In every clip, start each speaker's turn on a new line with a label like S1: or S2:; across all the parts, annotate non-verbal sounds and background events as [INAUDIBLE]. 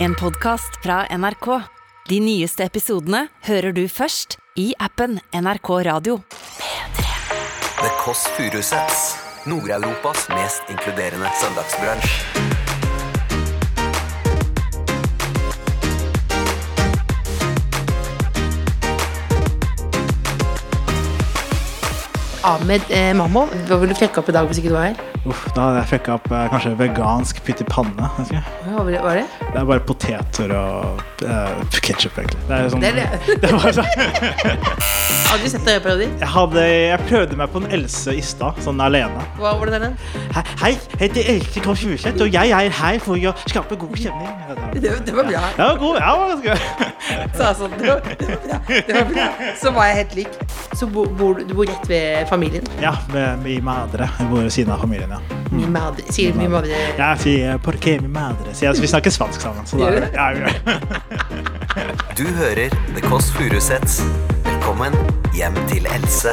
S1: En podcast fra NRK. De nyeste episodene hører du først i appen NRK Radio.
S2: The Kåss Furuseths. Nord-Europas mest inkluderende søndagsbransj.
S3: Ahmed eh, Mammo, hva ville du fjekke opp i dag hvis ikke du var her?
S4: Uff, da hadde jeg fucka opp eh, kanskje vegansk pytt i panne. vet ikke.
S3: Hva var det- var det?
S4: Det er bare poteter og uh, ketsjup, egentlig. Det er sånn,
S3: Det [LAUGHS] er det.
S4: [LAUGHS] det var sånn.
S3: Aldri sett deg i parodier.
S4: Jeg, hadde, jeg prøvde meg på en Else i stad, sånn alene.
S3: Hva var det der, den?
S4: Hei, hei, jeg heter Else Kåss Furuseth, og jeg er her for å skape god stemning. Det
S3: Det, det var bra.
S4: var god. Ja, det var ganske bra.
S3: Sa sånn. Det var, det var bra. Det var bra. Så var jeg helt lik. Så bo, bor, du- du bor rett ved familien?
S4: Ja, med mi madre. Jeg bor ved siden av familien, ja.
S3: Min madre. Sier min madre.
S4: Jeg sier 'porque mi madre', så jeg, vi snakker spansk sammen. Så da,
S3: Gjør dere?
S4: ja, vi gjør det.
S2: Du hører The Kåss Furuseths. Velkommen hjem til Else.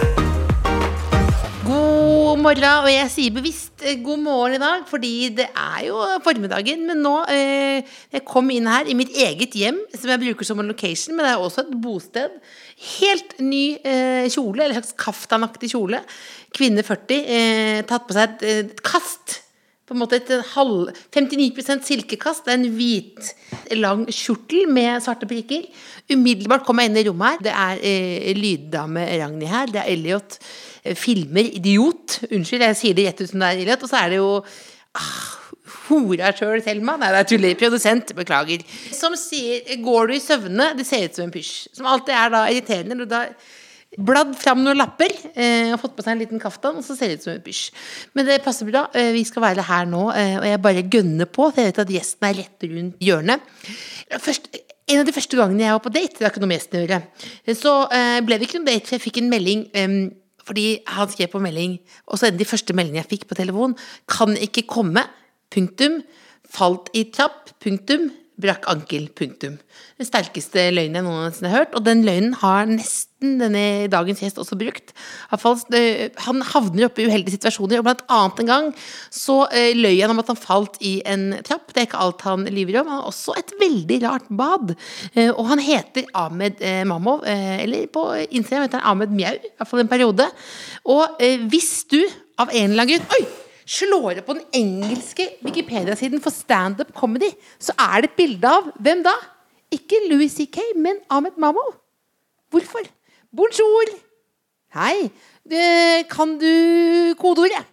S3: God morgen, og jeg sier bevisst eh, god morgen i dag, fordi det er jo formiddagen. Men nå eh, Jeg kom inn her i mitt eget hjem, som jeg bruker som en location, men det er også et bosted. Helt ny eh, kjole, eller slags kaftanaktig kjole. Kvinne 40. Eh, tatt på seg et, eh, et kast. På en måte et halv 59 silkekast. Det er en hvit, lang kjortel med svarte prikker. Umiddelbart kom jeg inn i rommet her. Det er eh, lyddame Ragnhild her. Det er Elliot. eh, Filmer idiot. Unnskyld, jeg sier det rett ut som det er Elliot. Og så er det jo ah, hora sjøl, Selma. Nei, det er tuller. Produsent, beklager. Som sier 'går du i søvne', det ser ut som en pysj. Som alltid er da irriterende. når du da Bladd fram noen lapper eh, og fått på seg en liten kaftan, og så ser det ut som en pysj. Men det passer bra. Eh, vi skal være her nå, eh, og jeg bare gønner på. For jeg vet at gjesten er rett rundt hjørnet. Først, en av de første gangene jeg var på date, det har ikke noe med gjesten å gjøre, så eh, ble det ikke noe date, for jeg fikk en melding em, fordi han skrev på melding, og så en av de første meldingene jeg fikk på telefon, kan ikke komme, punktum, falt i trapp, punktum, brakk ankel, punktum. Den sterkeste løgnen jeg noensinne har hørt, og den løgnen har nesten denne dagens gjest også brukt. Han falt- øh, Han havner oppe i uheldige situasjoner, og blant annet en gang så øh, løy han om at han falt i en trapp. Det er ikke alt han lyver om. Han har også et veldig rart bad. Eh, Og han heter Ahmed eh, Mamov, eh, eller på Instagram heter han Ahmed Mjau, i hvert fall en periode. Og eh, hvis du av en eller annen grunn Oi! slår opp på den engelske Wikipedia-siden for standup comedy, så er det et bilde av hvem da? Ikke Louis C.K., men Ahmed Mamo. Hvorfor? Bonjour! Hei. Eh, Kan du kodeordet?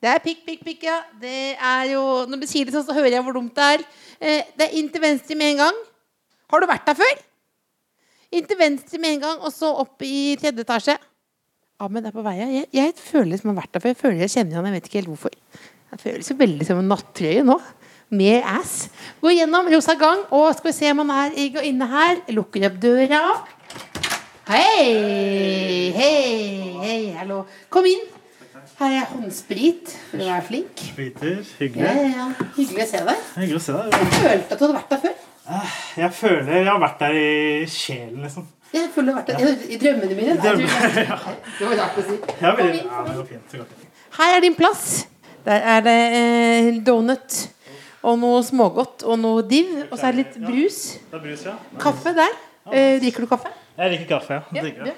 S3: Det er pikk, pikk, pikk, ja. Det er jo Når du sier det sånn, så hører jeg hvor dumt det er. Eh, Det er inn til venstre med en gang. Har du vært der før? Inn til venstre med en gang, og så opp i tredje etasje. Ahmed er på vei. ja. Jeg, jeg føler som jeg har vært der før. Jeg føler jeg kjenner han, jeg vet ikke helt hvorfor. Jeg føler så veldig som en nattrøye nå. Mer ass. Gå gjennom rosa gang, og skal vi se om han er i- inne her. Lukker opp døra. Hei, hei, hei, hallo. Kom inn. Her er håndsprit, for å være flink.
S4: Peter,
S3: Ja,
S4: hyggelig.
S3: ja, ja. Hyggelig å se deg.
S4: Hyggelig å se deg.
S3: Jeg følte at du hadde vært der før.
S4: Jeg føler jeg har vært der i sjelen, liksom.
S3: Jeg føler du har vært der i drømmene mine. Nei,
S4: Drømmer,
S3: [LAUGHS] du- Det var rart å si.
S4: Ja, men,
S3: Kom inn,
S4: ja, men det går fint. Det går fint.
S3: Her er din plass. Der er det eh, donut og noe smågodt og noe div. Og så er det litt brus.
S4: Det er brus, ja.
S3: Kaffe der. Eh, drikker du kaffe?
S4: Jeg liker kaffe. ja. Jeg digger det.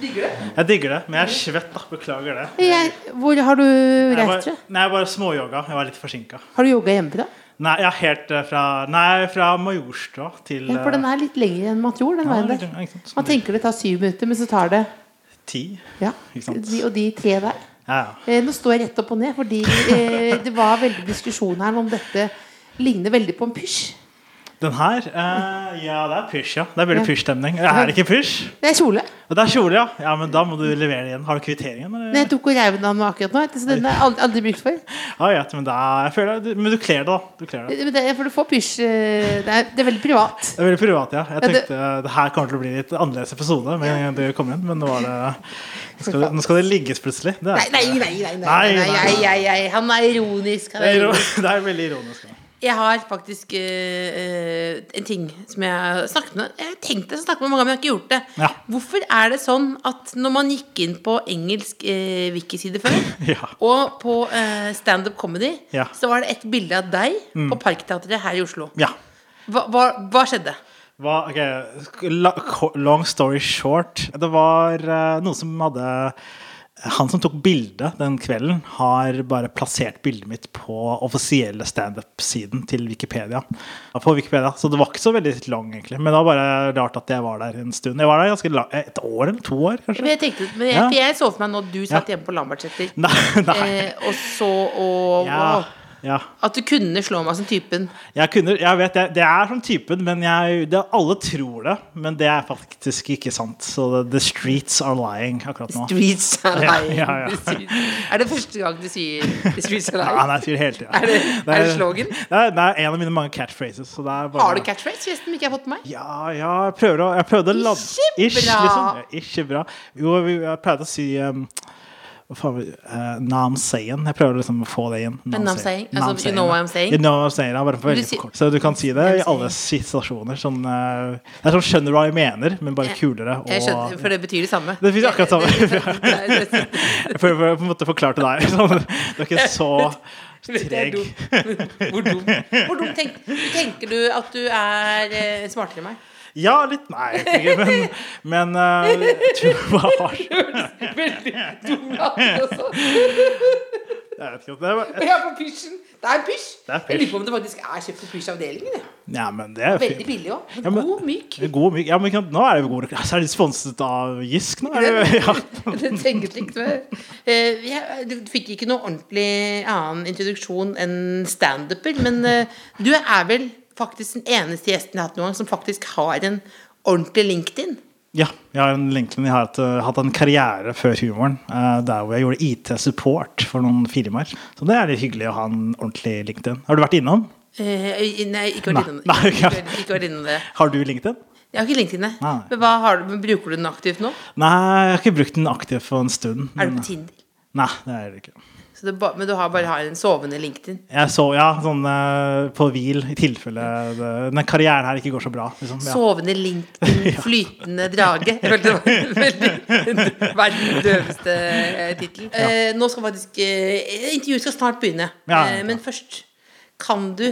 S3: Digger du?
S4: Jeg digger det, men jeg er svett, da. Beklager det.
S3: Jeg, hvor har du
S4: Jeg
S3: reist
S4: var,
S3: fra?
S4: nei, jeg var småyoga. Jeg var litt forsinka.
S3: Har du yoga hjemmefra?
S4: Nei, jeg er helt eh, fra Nei, fra Majorstua til
S3: Ja, for den
S4: eh,
S3: er litt lengre enn man tror. den
S4: ja,
S3: veien
S4: litt-
S3: der.
S4: ja, ikke sant.
S3: Man tenker det tar syv minutter, men så tar det
S4: Ti.
S3: ja,
S4: Ikke sant.
S3: de og de tre der.
S4: Ja, ja.
S3: Eh, nå står jeg rett opp og ned, fordi eh, det var veldig diskusjon her om dette ligner veldig på en pysj.
S4: Den her eh, Ja, det er pysj, ja. Det er veldig
S3: Ja.
S4: pysjstemning. Det er ikke pysj.
S3: Det er kjole.
S4: Og det er kjole, ja. Ja, men da må du levere det igjen. Har du kvitteringen?
S3: Men
S4: Eller?
S3: jeg tok og reiv den av meg akkurat nå, så den har jeg aldri, aldri brukt for.
S4: Ja, ja, men, da, jeg føler, du- men du kler det, da. Du kler det.
S3: Men det, for du får pysj eh, det, er- det er veldig privat.
S4: Det er veldig privat, ja. Jeg
S3: Ja, det-
S4: tenkte eh, det her kommer til å bli litt annerledes episode med en gang dere kommer inn, men nå, er det, nå, skal, det, nå skal det ligges plutselig. Det er,
S3: Nei, nei, nei. nei, nei, nei,
S4: Nei, nei.
S3: nei, nei, nei. Han er ironisk. Han
S4: det
S3: er
S4: er, iro-
S3: ironisk.
S4: det er veldig ironisk. da.
S3: Jeg har faktisk eh, eh, en ting som jeg har snakket med Jeg har tenkt det, snakket med mange, men jeg har ikke gjort det.
S4: Ja.
S3: Hvorfor er det sånn at når man gikk inn på engelsk eh, wiki-side før,
S4: [LAUGHS] Ja.
S3: og på eh, standup comedy,
S4: Ja. Mm.
S3: så var det et bilde av deg på Parkteatret her i Oslo.
S4: Ja.
S3: Hva, hva, hva skjedde?
S4: Hva, ok, sk- la, ko- long story short. Det var eh, noen som hadde Han som tok bildet den kvelden, har bare plassert bildet mitt på offisielle standup-siden til Wikipedia. Ja, På Wikipedia, Så det var ikke så veldig lang, egentlig. Men det var bare rart at jeg var der en stund. Jeg var der ganske lang, et år eller to år, kanskje.
S3: Men jeg, tenkte, men jeg,
S4: Ja.
S3: for jeg så for meg nå at du satt hjemme på Lambertseter,
S4: Nei, [LAUGHS] nei.
S3: eh, og så og,
S4: Ja,
S3: og
S4: ja.
S3: At du kunne slå meg som typen.
S4: Jeg, kunne, jeg vet, jeg, det er sånn typen, men jeg, det, alle tror det. Men det er faktisk ikke sant. Så the, the streets are lying akkurat nå.
S3: Streets are
S4: Ja,
S3: lying.
S4: ja,
S3: [LAUGHS]
S4: ja.
S3: The streets- Er det første gang du sier The streets are
S4: [LAUGHS] Ja,
S3: lying?
S4: nei, jeg sier det hele tiden.
S3: Er det- er det slogan?
S4: Det er, det er en av mine mange catchphrases. Så det er bare,
S3: Har du catchphrase, forresten, som ikke jeg har fått med meg?
S4: Ja, ja, jeg prøver å Jeg prøvde å lade
S3: Ikke
S4: Ish,
S3: bra.
S4: liksom. Ja, Ikke bra. Jo, vi- jeg pleide å si um, hva faen, uh, Nam saying. Jeg prøver liksom å få det inn. Nam
S3: Nam
S4: saying.
S3: saying, altså, you
S4: Nam saying,
S3: know
S4: ja.
S3: what I'm saying.
S4: You know what I'm saying, ja, bare for
S3: Du
S4: veldig
S3: sier-
S4: kort. Så du kan si det
S3: I'm
S4: i alle situasjoner. Sånn, uh, det er sånn skjønner du hva jeg mener, men bare kulere. Og,
S3: Jeg skjønner, For det betyr det samme.
S4: Det betyr akkurat samme.
S3: [LAUGHS] Det- det- det- det-
S4: [LAUGHS] jeg prøver å på en måte forklare til deg. [LAUGHS] Sånn, du er
S3: [LAUGHS]
S4: ikke så
S3: det- det er
S4: treg.
S3: dumt. Hvor dum, Hvor dum tenk, tenker du at du er eh, smartere enn meg? [LAUGHS]
S4: Ja, litt Nei, egentlig ikke, men, men eh, jeg tror hva var Jeg
S3: Veldig dum latter også.
S4: vet ikke om det var
S3: Jeg er på pysjen. Det er pysj.
S4: Det er pysj.
S3: Jeg lurer på om det faktisk er kjøpt på pysjavdelingen. jeg.
S4: Ja, men det er
S3: Veldig
S4: fint.
S3: billig òg.
S4: Ja, men-
S3: God, myk.
S4: God, myk- ja, men ikke sant, nå er det jo god reklame. Så er de sponset av Gisk nå? Er det, ja.
S3: [LAUGHS] Det tenker jeg ikke på. Eh, jeg- Du fikk ikke noe ordentlig annen introduksjon enn standuper, men eh, du er vel faktisk den eneste gjesten jeg har hatt noen gang som faktisk har en ordentlig LinkedIn.
S4: ja. Jeg har en LinkedIn. Jeg har hatt, eh, hatt en karriere før humoren. eh, der hvor jeg gjorde IT-support for noen firmaer. Så det er litt hyggelig å ha en ordentlig LinkedIn. Har du vært innom?
S3: Eh, i- Nei, ikke
S4: Nei,
S3: vært innom
S4: nei,
S3: ikke-
S4: ja.
S3: ikke- ikke vært innom det.
S4: Har du LinkedIn?
S3: Jeg har ikke LinkedIn, jeg.
S4: Nei.
S3: Men hva har du, men bruker du den aktivt nå?
S4: Nei, jeg har ikke brukt den aktivt for en stund.
S3: Er du
S4: men-
S3: på Tinder?
S4: Nei, det er det ikke.
S3: Så det, ba- men du har bare har en sovende LinkedIn?
S4: Jeg så, ja, sånn eh, på hvil i tilfelle det, den karrieren her ikke går så bra. Liksom. Ja.
S3: Sovende
S4: [LAUGHS]
S3: LinkedIn, flytende drage. Jeg følte det var en veldig [LAUGHS] verdens døveste tittel. Eh, nå skal faktisk eh, Intervjuet skal snart begynne.
S4: Ja, ja, ja.
S3: Eh, men først, kan du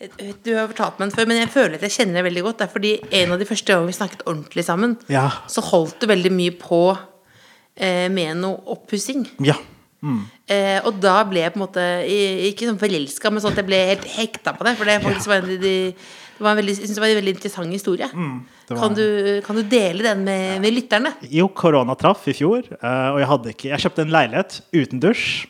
S3: eh, Du har fortalt meg den før, men jeg føler at jeg kjenner deg veldig godt. Det er fordi en av de første gangene vi snakket ordentlig sammen,
S4: Ja.
S3: så holdt du veldig mye på eh, med noe oppussing.
S4: ja.
S3: Eh, og da ble jeg på en måte i- ikke sånn forelska, men sånn at jeg ble helt hekta på det. For det, faktisk var liksom en, av de, det var en veldig, jeg synes det var en veldig interessant historie.
S4: Mm, det var-
S3: kan, du, kan du dele den med, med lytterne?
S4: Jo, korona traff i fjor, eh, og jeg hadde ikke Jeg kjøpte en leilighet uten dusj.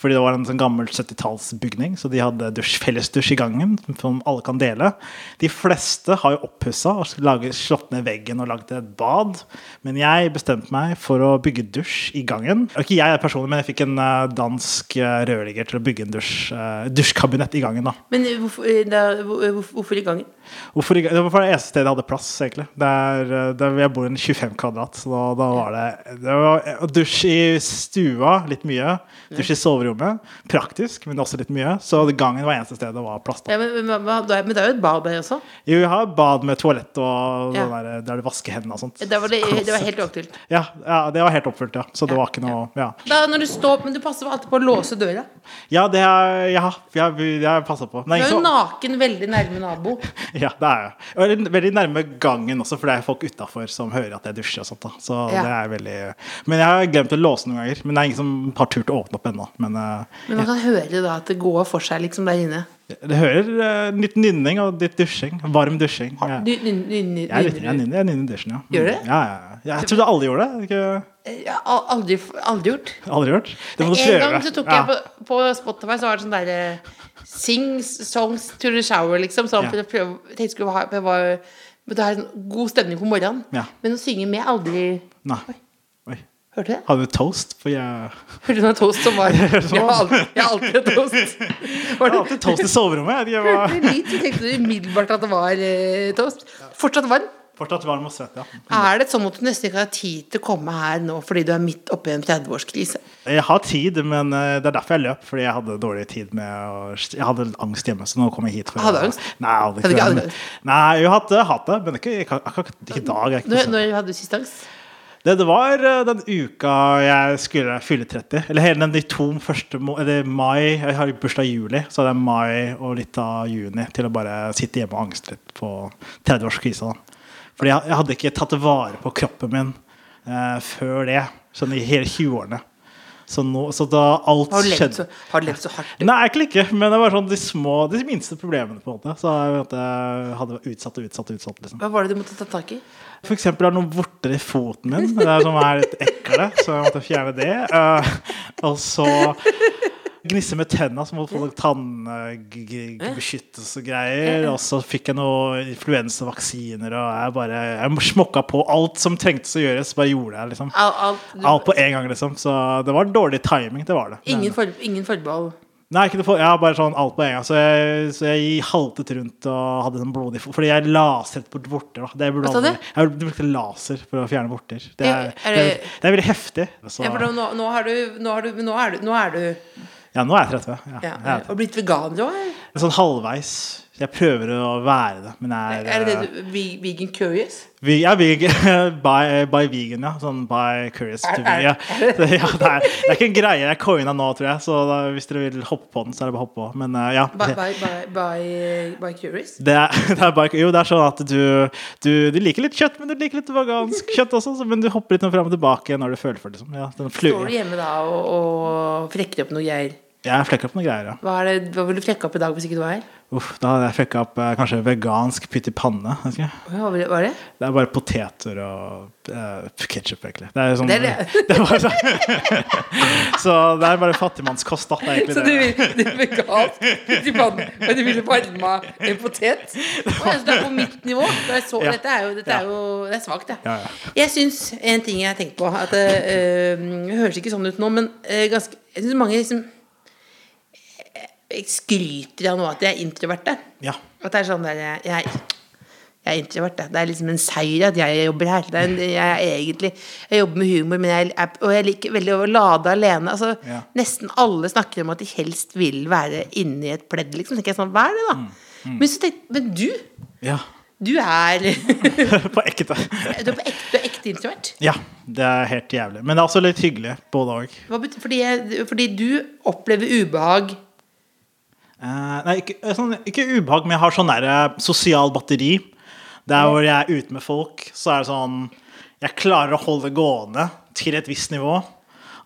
S4: Fordi det var en sånn gammel 70-tallsbygning, så de hadde dusj, fellesdusj i gangen. Som alle kan dele. De fleste har jo oppussa og laget, slått ned veggen og lagd et bad. Men jeg bestemte meg for å bygge dusj i gangen. Og Ikke jeg personlig, men jeg fikk en eh, dansk eh, rørlegger til å bygge en dusj, eh, dusjkabinett i gangen. da
S3: Men hvorfor, eh, da, hvor- hvor- hvorfor i gangen?
S4: Hvorfor ikke? Det var for det eneste stedet jeg hadde plass, egentlig. Der, der jeg bor i en 25 kvadrat, så da, da var det, det var, og Dusj i stua, litt mye. Dusj i soverommet, praktisk, men også litt mye. Så gangen var eneste stedet det var plass. Da.
S3: Ja, men, men, hva- da- men det er jo et bad der også.
S4: Jo, jeg har bad med toalett og
S3: Ja.
S4: sånn der, der du vasker hendene og sånt.
S3: Det var, det, det var
S4: Klosett.
S3: helt aktuelt.
S4: ja, ja, det var helt oppfylt, ja. Så det var ikke noe Ja,
S3: Da, når du står, men du passer alltid på å låse døra.
S4: ja det er Ja, jeg, jeg passa på. Nei,
S3: Du er jo
S4: så-
S3: naken veldig nærme nabo.
S4: [LAUGHS] Ja, det er jeg. Og jeg er veldig nærme gangen også, for det er folk utafor som hører at jeg dusjer og sånt. da. Så
S3: Ja.
S4: det er veldig... Men jeg har glemt å låse noen ganger. Men det er ingen som har turt å åpne opp ennå. Men eh,
S3: Men man kan høre da at det går for seg liksom der inne.
S4: det hører eh, litt nynning og litt dusjing. Varm dusjing.
S3: Du-
S4: Jeg,
S3: du- du-
S4: jeg, er litt-
S3: du-
S4: jeg, nynner, jeg nynner i dusjen, ja. Mm.
S3: Gjør du det?
S4: Ja, ja, ja. Jeg trodde alle gjorde det. Ikke,
S3: Jeg har Eh, al- aldri, aldri gjort.
S4: aldri hørt. Det må du
S3: En
S4: prøve.
S3: gang så tok
S4: ja.
S3: jeg på, på Spotify Så var det sånn der eh, Sing songs to the shower liksom Sånn
S4: Ja.
S3: for å prøve tenkte jeg skulle ha, det var, Men det er en god stemning på morgenen
S4: Ja.
S3: Men å synge med aldri
S4: Nei. Oi.
S3: Hørte du det?
S4: Hadde du toast? For jeg,
S3: Hørte du noe toast som
S4: [LAUGHS]
S3: var Jeg har alltid, jeg har alltid hatt toast
S4: jeg
S3: Var
S4: har
S3: det [LAUGHS]
S4: alltid toast i soverommet. Jeg vet ikke hva
S3: Hørte du litt, så tenkte du umiddelbart at det var eh, toast Fortsatt varm
S4: Fortsatt varm og svett, ja.
S3: Er det sånn at du nesten ikke har tid til å komme her nå fordi du er midt oppe i en 30-årskrise?
S4: Jeg har tid, men eh, det er derfor jeg løp. Fordi jeg hadde dårlig tid med å, Jeg hadde angst hjemme, så nå kom jeg hit. For, å-
S3: Hadde du angst?
S4: Nei,
S3: Hadde
S4: jeg hadde ikke
S3: ikke
S4: det.
S3: angst?
S4: men- Nei, jeg hadde hatt det, men ikke, jeg, kan- akkurat ikke i dag. Jeg, er ikke sånn-
S3: Når,
S4: så-
S3: når hadde du sist angst?
S4: Det, det var eh, den uka jeg skulle fylle 30. Eller hele den de to første må- Eller mai. Jeg har bursdag i juli, så det er mai og litt av juni til å bare sitte hjemme og angste litt på 30-årskrisa. da. Fordi jeg, jeg hadde ikke tatt vare på kroppen min eh, før det, sånn i hele 20-årene. Så, nå- så da alt
S3: Har du levd så,
S4: skjedde
S3: har du levd så hardt?
S4: Nei, egentlig ikke. Men det var sånn de små, de minste problemene. på en måte Så jeg vet, jeg hadde utsatt og utsatt og utsatt. liksom
S3: Hva var det du måtte ta tak i?
S4: for eksempel er det noen vorter i foten min det er- som er litt ekle, så jeg måtte fjerne det. Eh, og så gnisse med tenna, så måtte få tannbeskyttelsesgreier. Og så fikk jeg noen influensavaksiner, og jeg bare jeg smokka på alt som trengtes å gjøres. Bare gjorde jeg liksom
S3: Al, alt- du,
S4: Alt på en gang, liksom. Så det var en dårlig timing. det var det Men-
S3: ingen, for, ingen forbehold?
S4: Nei, ikke noe for, ja, bare sånn alt på en gang. Så jeg, så jeg haltet rundt og hadde den blodige fot. Fordi jeg lasret bort vorter. da. Det burde
S3: Hva sa du?
S4: aldri- Jeg brukte laser for å fjerne vorter. Det er,
S3: Ja, er
S4: det,
S3: det-
S4: er, det er veldig heftig. Så,
S3: Ja, for nå, nå, har du, nå, har du, nå er du, nå er du
S4: ja, nå er jeg 30.
S3: ja,
S4: Ja, jeg er
S3: Og blitt veganer òg?
S4: 30. Sånn halvveis. Jeg prøver å være det, men jeg er,
S3: Er det det du ve- Vegan curious?
S4: Vi- [LAUGHS] Jeg er vegan, by, by vegan, ja. Sånn by curious to
S3: Er- er-
S4: vegan. Ja. Det, ja, det, er, det er ikke en greie jeg coina nå, tror jeg. Så da, hvis dere vil hoppe på den, så er det bare å hoppe på. Men eh, ja.
S3: By, by, by, by, by curious?
S4: Det er, [LAUGHS] det er bare, jo, det er sånn at du, du, du liker litt kjøtt, men du liker litt vegansk kjøtt også, så- men du hopper litt fram og tilbake når du føler for det. Liksom. Ja, den flu,
S3: Står du hjemme da og, og flekker opp noe greier?
S4: jeg flekker opp noen greier, ja.
S3: Hva, er det, hva vil du flekke opp i dag hvis ikke du var her?
S4: Uff, da hadde jeg flekka opp eh, kanskje vegansk pytt i panne. vet ikke jeg.
S3: Hva vil- hva er det?
S4: Det er bare poteter og uh, ketsjup, egentlig. [LAUGHS] Det er sånn,
S3: Det er det.
S4: er bare så, [LAUGHS] så det er bare fattigmannskost, da. Det er egentlig
S3: Så
S4: det.
S3: du vil du er vegansk til pannen, men du ville varma en potet? Å, jeg synes altså, det er på mitt nivå. Det er så,
S4: Ja.
S3: Dette er jo, dette er jo det er svakt,
S4: Ja,
S3: det.
S4: ja.
S3: Jeg syns en ting jeg har tenkt på at, eh, Det høres ikke sånn ut nå, men eh, ganske, jeg syns mange liksom eh, skryter av nå at de er introverte.
S4: Ja.
S3: At det er sånn der jeg, jeg, jeg er introvert, jeg. Det er liksom en seier at jeg jobber her. Det er en, jeg er egentlig Jeg jobber med humor, men jeg er, og jeg liker veldig å lade alene. Altså,
S4: Ja.
S3: Nesten alle snakker om at de helst vil være inni et pledd, liksom. Så tenker jeg sånn, hva er det, da?
S4: Mm,
S3: Men så tenk, men du,
S4: ja. [LAUGHS]
S3: du er [LAUGHS] Du
S4: På ekte.
S3: er på ekte, du er ekte introvert.
S4: Ja. Det er helt jævlig. Men det er også litt hyggelig, både òg.
S3: Hva betyr, fordi, jeg, fordi du opplever ubehag
S4: Eh, nei, ikke, eh, sånn, ikke ubehag, men jeg har sånn der eh, sosial batteri. Der hvor jeg er ute med folk, så er det sånn Jeg klarer å holde det gående til et visst nivå,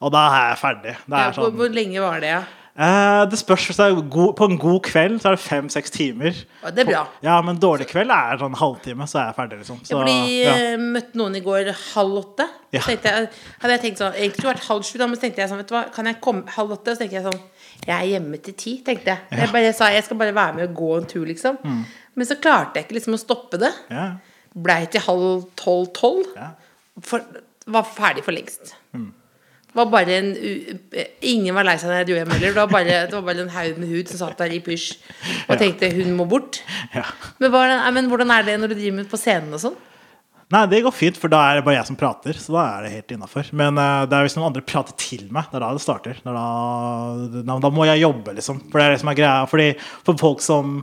S4: og da er jeg ferdig. Det,
S3: ja,
S4: er
S3: hvor,
S4: sånn,
S3: hvor lenge var det, ja?
S4: Eh, det spørs hvis det er god, På en god kveld så er det fem-seks timer.
S3: Ja, det er bra.
S4: På, ja, men dårlig kveld er sånn halvtime, så er jeg ferdig, liksom. Så,
S3: Ja, fordi
S4: ja.
S3: jeg eh, møtte noen i går halv åtte.
S4: Ja.
S3: Så tenkte jeg, hadde jeg tenkt sånn, egentlig skulle det vært halv sju, da, men så tenkte jeg sånn, vet du hva, kan jeg komme halv åtte? Og så tenkte jeg sånn, jeg er hjemme til ti, tenkte jeg. Jeg, bare, jeg sa, jeg skal bare være med og gå en tur, liksom.
S4: Mm.
S3: Men så klarte jeg ikke liksom å stoppe det.
S4: ja.
S3: Blei til halv tolv, tolv.
S4: Ja. Mm.
S3: For, var ferdig for lengst. Var bare en, u- ingen var lei seg når jeg dro hjem heller. Det var bare, det var bare en haug med hud som satt der i pysj og tenkte hun må bort.
S4: Ja.
S3: Men, hva- men hvordan er det når du driver med på scenen og sånn?
S4: Nei, det går fint, for da er det bare jeg som prater. Så da er det helt innafor. Men eh, det er hvis noen andre prater til meg, det er da det starter. Det er da, da, da må jeg jobbe, liksom. For det er det som er greia. Fordi for folk som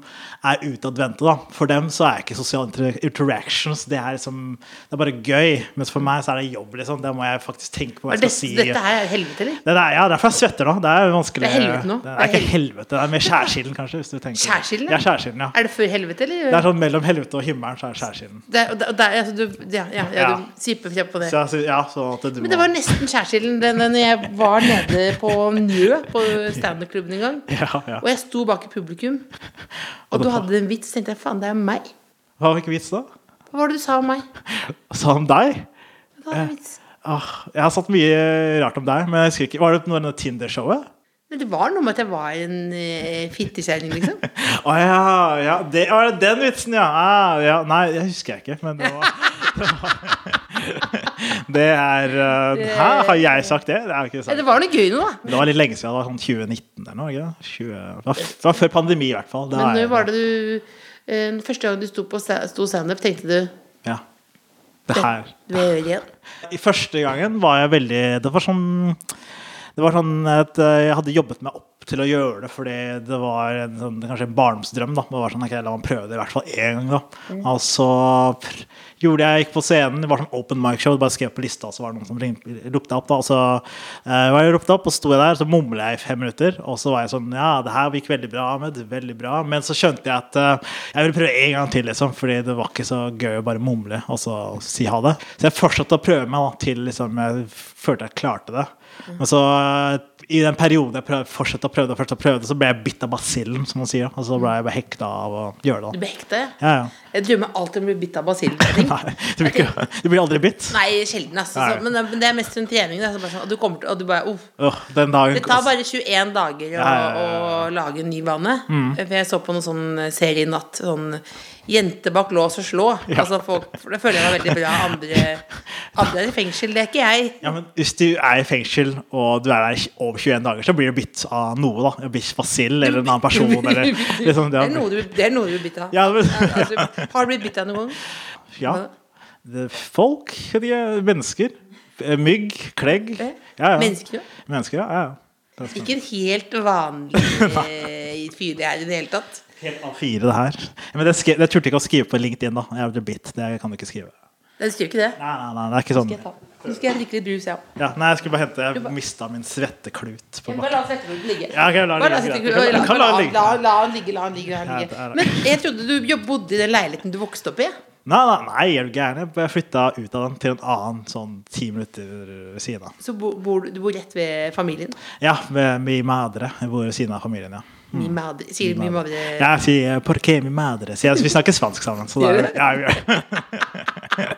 S4: er utadvendte, da, for dem så er ikke sosial inter interactions Det er liksom Det er bare gøy. Mens for meg så er det jobb, liksom. Da må jeg faktisk tenke på hva jeg
S3: Dette,
S4: skal si.
S3: dette her er helvete, eller?
S4: Det er, ja, derfor jeg svetter nå. Det er vanskelig.
S3: Det er helvete nå. Det
S4: Det
S3: er
S4: er ikke
S3: hel-
S4: helvete, det er mer skjærsilden, kanskje. Hvis du tenker.
S3: Skjærsilden, ja?
S4: Ja, skjærsilden, ja.
S3: Er det før helvete, eller?
S4: Det er sånn mellom helvete og himmelen, så er det skjærsilden.
S3: Det er- og det- og det er- altså, du, ja, ja, ja,
S4: Ja.
S3: du sipper frem på det.
S4: Så jeg, sy- ja, så at du
S3: Men det var nesten skjærsilden den- den- når jeg var nede på Njø, på standup-klubben en gang.
S4: ja, ja.
S3: Og jeg sto bak i publikum, og du hadde en vits, så tenkte jeg faen, det er meg.
S4: Hva var ikke vits da?
S3: Hva var det du sa om meg?
S4: Sa han deg?
S3: Det var en vits.
S4: Åh, jeg har sagt mye rart om deg, men jeg husker ikke Var det noe av det Tinder-showet?
S3: Men det var noe med at jeg var en uh, fittekjerring, liksom.
S4: Å ja, ja det, var det den vitsen, ja. Ah, ja! Nei, det husker jeg ikke, men det var [LAUGHS] Det, var, det er eh, Hæ, har jeg sagt det? Det er ikke
S3: Ja,
S4: sant.
S3: Det var noe gøy nå, da.
S4: Det var litt lenge siden. Det var sånn 2019 eller noe. ikke det? 20, det, var, det var før pandemi, i hvert fall. Da
S3: Men
S4: er
S3: når
S4: jeg-
S3: var det du eh, Første gang du sto på sta- sto standup, tenkte du
S4: ja. Det her.
S3: Du er jo ren.
S4: I første gangen var jeg veldig Det var sånn det var sånn at eh, Jeg hadde jobbet meg opp til å gjøre det fordi det var en, sånn, kanskje en barndomsdrøm. da. Det var sånn, ok, La meg prøve det i hvert fall én gang. da. Og så pr- gjorde jeg, gikk på scenen, det var sånn open mic show, bare skrev på lista, og så var det noen som ringte, ropte opp. da, og Så eh, var jeg ropt opp, og sto jeg der, så mumla jeg i fem minutter. Og så var jeg sånn Ja, det her gikk veldig bra, Ahmed. Veldig bra. Men så skjønte jeg at eh, jeg ville prøve en gang til, liksom, fordi det var ikke så gøy å bare mumle og så si ha det. Så jeg fortsatte å prøve meg da, til liksom, jeg følte jeg klarte det. Men så eh, i den perioden jeg prøv, fortsatte å prøve det, og fortsatte å prøve det, så ble jeg bitt av basillen, som man sier. Og så ble jeg bare hekta av å
S3: Du
S4: gjøre det. da.
S3: ble hekta, ja.
S4: Ja, ja.
S3: Jeg drømmer alltid om å bli bitt av basillen.
S4: Nei, du blir, ikke,
S3: [LAUGHS]
S4: du blir aldri bitt.
S3: Nei, sjelden, altså.
S4: Nei.
S3: Så, men men det er mest rundt trening. da, så bare sånn, og du kommer til, og du bare, uff.
S4: Åh, den dagen
S3: Det tar bare 21 dager å,
S4: Ja, ja, ja, Mm.
S3: å lage en ny vane. For jeg så på noen sånn serie i natt. Sånn 'Jente bak lås og slå'. Altså folk, for det føler jeg var veldig bra. Andre, andre er i fengsel, det er ikke jeg.
S4: Ja, men Hvis du er i fengsel og du er der i over 21 dager, så blir du bitt av noe. da En bitt basill eller en annen
S3: [LAUGHS]
S4: person. Eller, liksom,
S3: det,
S4: det
S3: er noe
S4: er,
S3: du, det er noe du blir bitt av.
S4: ja, men,
S3: Altså, har du blitt bitt av noen gang?
S4: [LAUGHS] ja. Det er Folk, de er mennesker. Mygg, klegg. Ja, ja.
S3: Mennesker, ja.
S4: Mennesker, ja, ja. Det er
S3: Ikke en helt vanlig
S4: [LAUGHS]
S3: eh, fyr det er i det hele tatt.
S4: Helt A4, det her. Men det, skre, det turte jeg ikke å skrive på LinkedIn. da Jeg ble bitt. Det kan du ikke skrive.
S3: Den skriver ikke det.
S4: Nei, nei, nei, det er ikke sånn.
S3: Skal jeg ta. Nå skal jeg drikke litt brus, jeg òg.
S4: Ja, nei, jeg skulle bare hente Jeg mista min svetteklut på
S3: Bare
S4: bakken.
S3: la settekluten ligge.
S4: Ja, ok, la den
S3: Bare la
S4: ligge,
S3: settekluten-
S4: greit. Du kan- du kan la den ligge.
S3: la- la den ligge. La den ligge, la den
S4: Ja,
S3: ligge.
S4: det er det.
S3: Men jeg trodde du jo- bodde i den leiligheten du vokste opp i.
S4: Nei, nei, nei, er du gæren? Jeg flytta ut av den til en annen sånn ti minutter ved siden av.
S3: Så bo, bor du, du bor rett ved familien.
S4: Ja, med mi madre. Jeg bor ved siden av familien, ja.
S3: Min madre, sier min madre
S4: Ja, Jeg sier 'porque mi madre'. Så jeg, vi snakker spansk sammen. Så da,
S3: Gjør dere?
S4: ja, vi gjør det.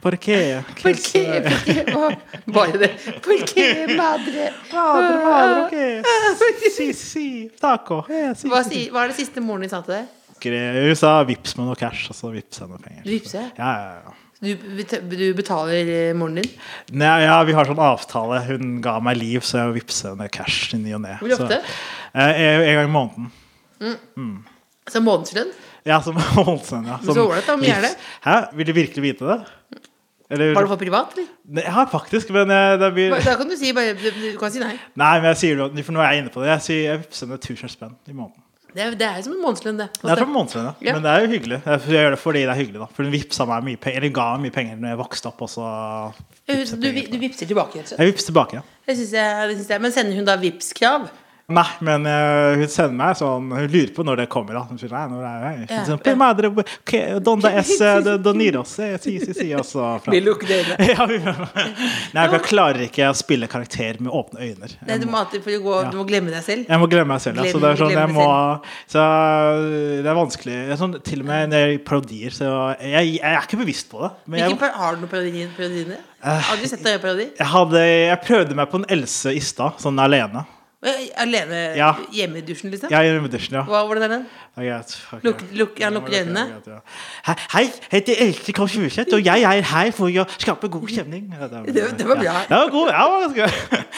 S3: [LAUGHS]
S4: Porque
S3: Por qué, por qué, Å, Bare det. Por qué, madre?
S4: Madre, madre, ok.
S3: [LAUGHS]
S4: Si, si, taco. eh, si,
S3: Hva,
S4: si.
S3: sier- hva er det siste moren din sa til deg?
S4: Hun sa 'vips med noe cash', og så vips jeg noe penger.
S3: Du vipser?
S4: Ja, ja, ja.
S3: Du, bet- du betaler eh, moren din?
S4: Nei, ja, vi har sånn avtale. Hun ga meg liv, så jeg vippser henne cash i ny og ne.
S3: Hvor
S4: Så-
S3: ofte?
S4: Eh, en gang i måneden.
S3: Så månedslønn?
S4: Ja, som [LAUGHS] Holsen, ja.
S3: Så ålreit, da, men gjerne.
S4: livs- Hæ? Vil du virkelig vite det? Eller,
S3: Har du fått privat, eller?
S4: Nei, Ja, faktisk, men eh, det blir
S3: Da kan du si bare Du, du kan si nei.
S4: Nei, men jeg sier det, jo- for nå er jeg inne på det. Jeg sier jeg sender 1000 spenn i måneden.
S3: Det er, det er jo som en månedslønn, det.
S4: Det er fra månedslønna,
S3: Ja.
S4: men det er jo hyggelig. Jeg gjør det fordi det er hyggelig, da. For hun vippsa meg mye penger, eller ga meg mye penger når jeg vokste opp, og så
S3: Du, du, du vipser tilbake, rett og slett.
S4: Jeg vippser tilbake, ja.
S3: Det synes jeg, det synes jeg. Men sender hun da Vipps-krav?
S4: Nei, men eh, hun sender meg sånn Hun lurer på når det kommer, da. Hun sier nei, når er det
S3: Ja.
S4: Sånn, «Pe madre, que- donde es, eh, do- doniros, eh, si, si, si, og så fra.
S3: Vi lukker øynene.
S4: Ja, vi- Nei, for jeg klarer ikke å spille karakter med åpne øyne. Jeg
S3: Nei, du
S4: må-
S3: må alltid for å gå, du må glemme deg selv.
S4: Jeg må glemme meg selv. Ja. Så
S3: Glem-
S4: det er sånn, jeg
S3: glemme
S4: må, så det er vanskelig. Det er sånn, til og med når jeg gjør parodier, så jeg, jeg er ikke bevisst på det. Men
S3: Hvilken
S4: jeg,
S3: par,
S4: Eh.
S3: har du noen parodier? parodier? Har du sett deg gjøre parodi?
S4: jeg, hadde, jeg prøvde meg på en Else i stad, sånn alene.
S3: Eh, Alene
S4: Ja.
S3: hjemme i dusjen, liksom?
S4: Jeg gjør audition, ja.
S3: Hva, hvordan er den?
S4: Det er greit. Ok.
S3: Lukk- lukk- ja,
S4: Ja,
S3: lukker
S4: det er greit,
S3: øynene.
S4: det er greit, ja. Hei, hei, jeg heter Else Kåss Furuseth, og jeg er her for å skape god stemning. Ja,
S3: Det- det var bra.
S4: Ja, det var god, ja, det var ganske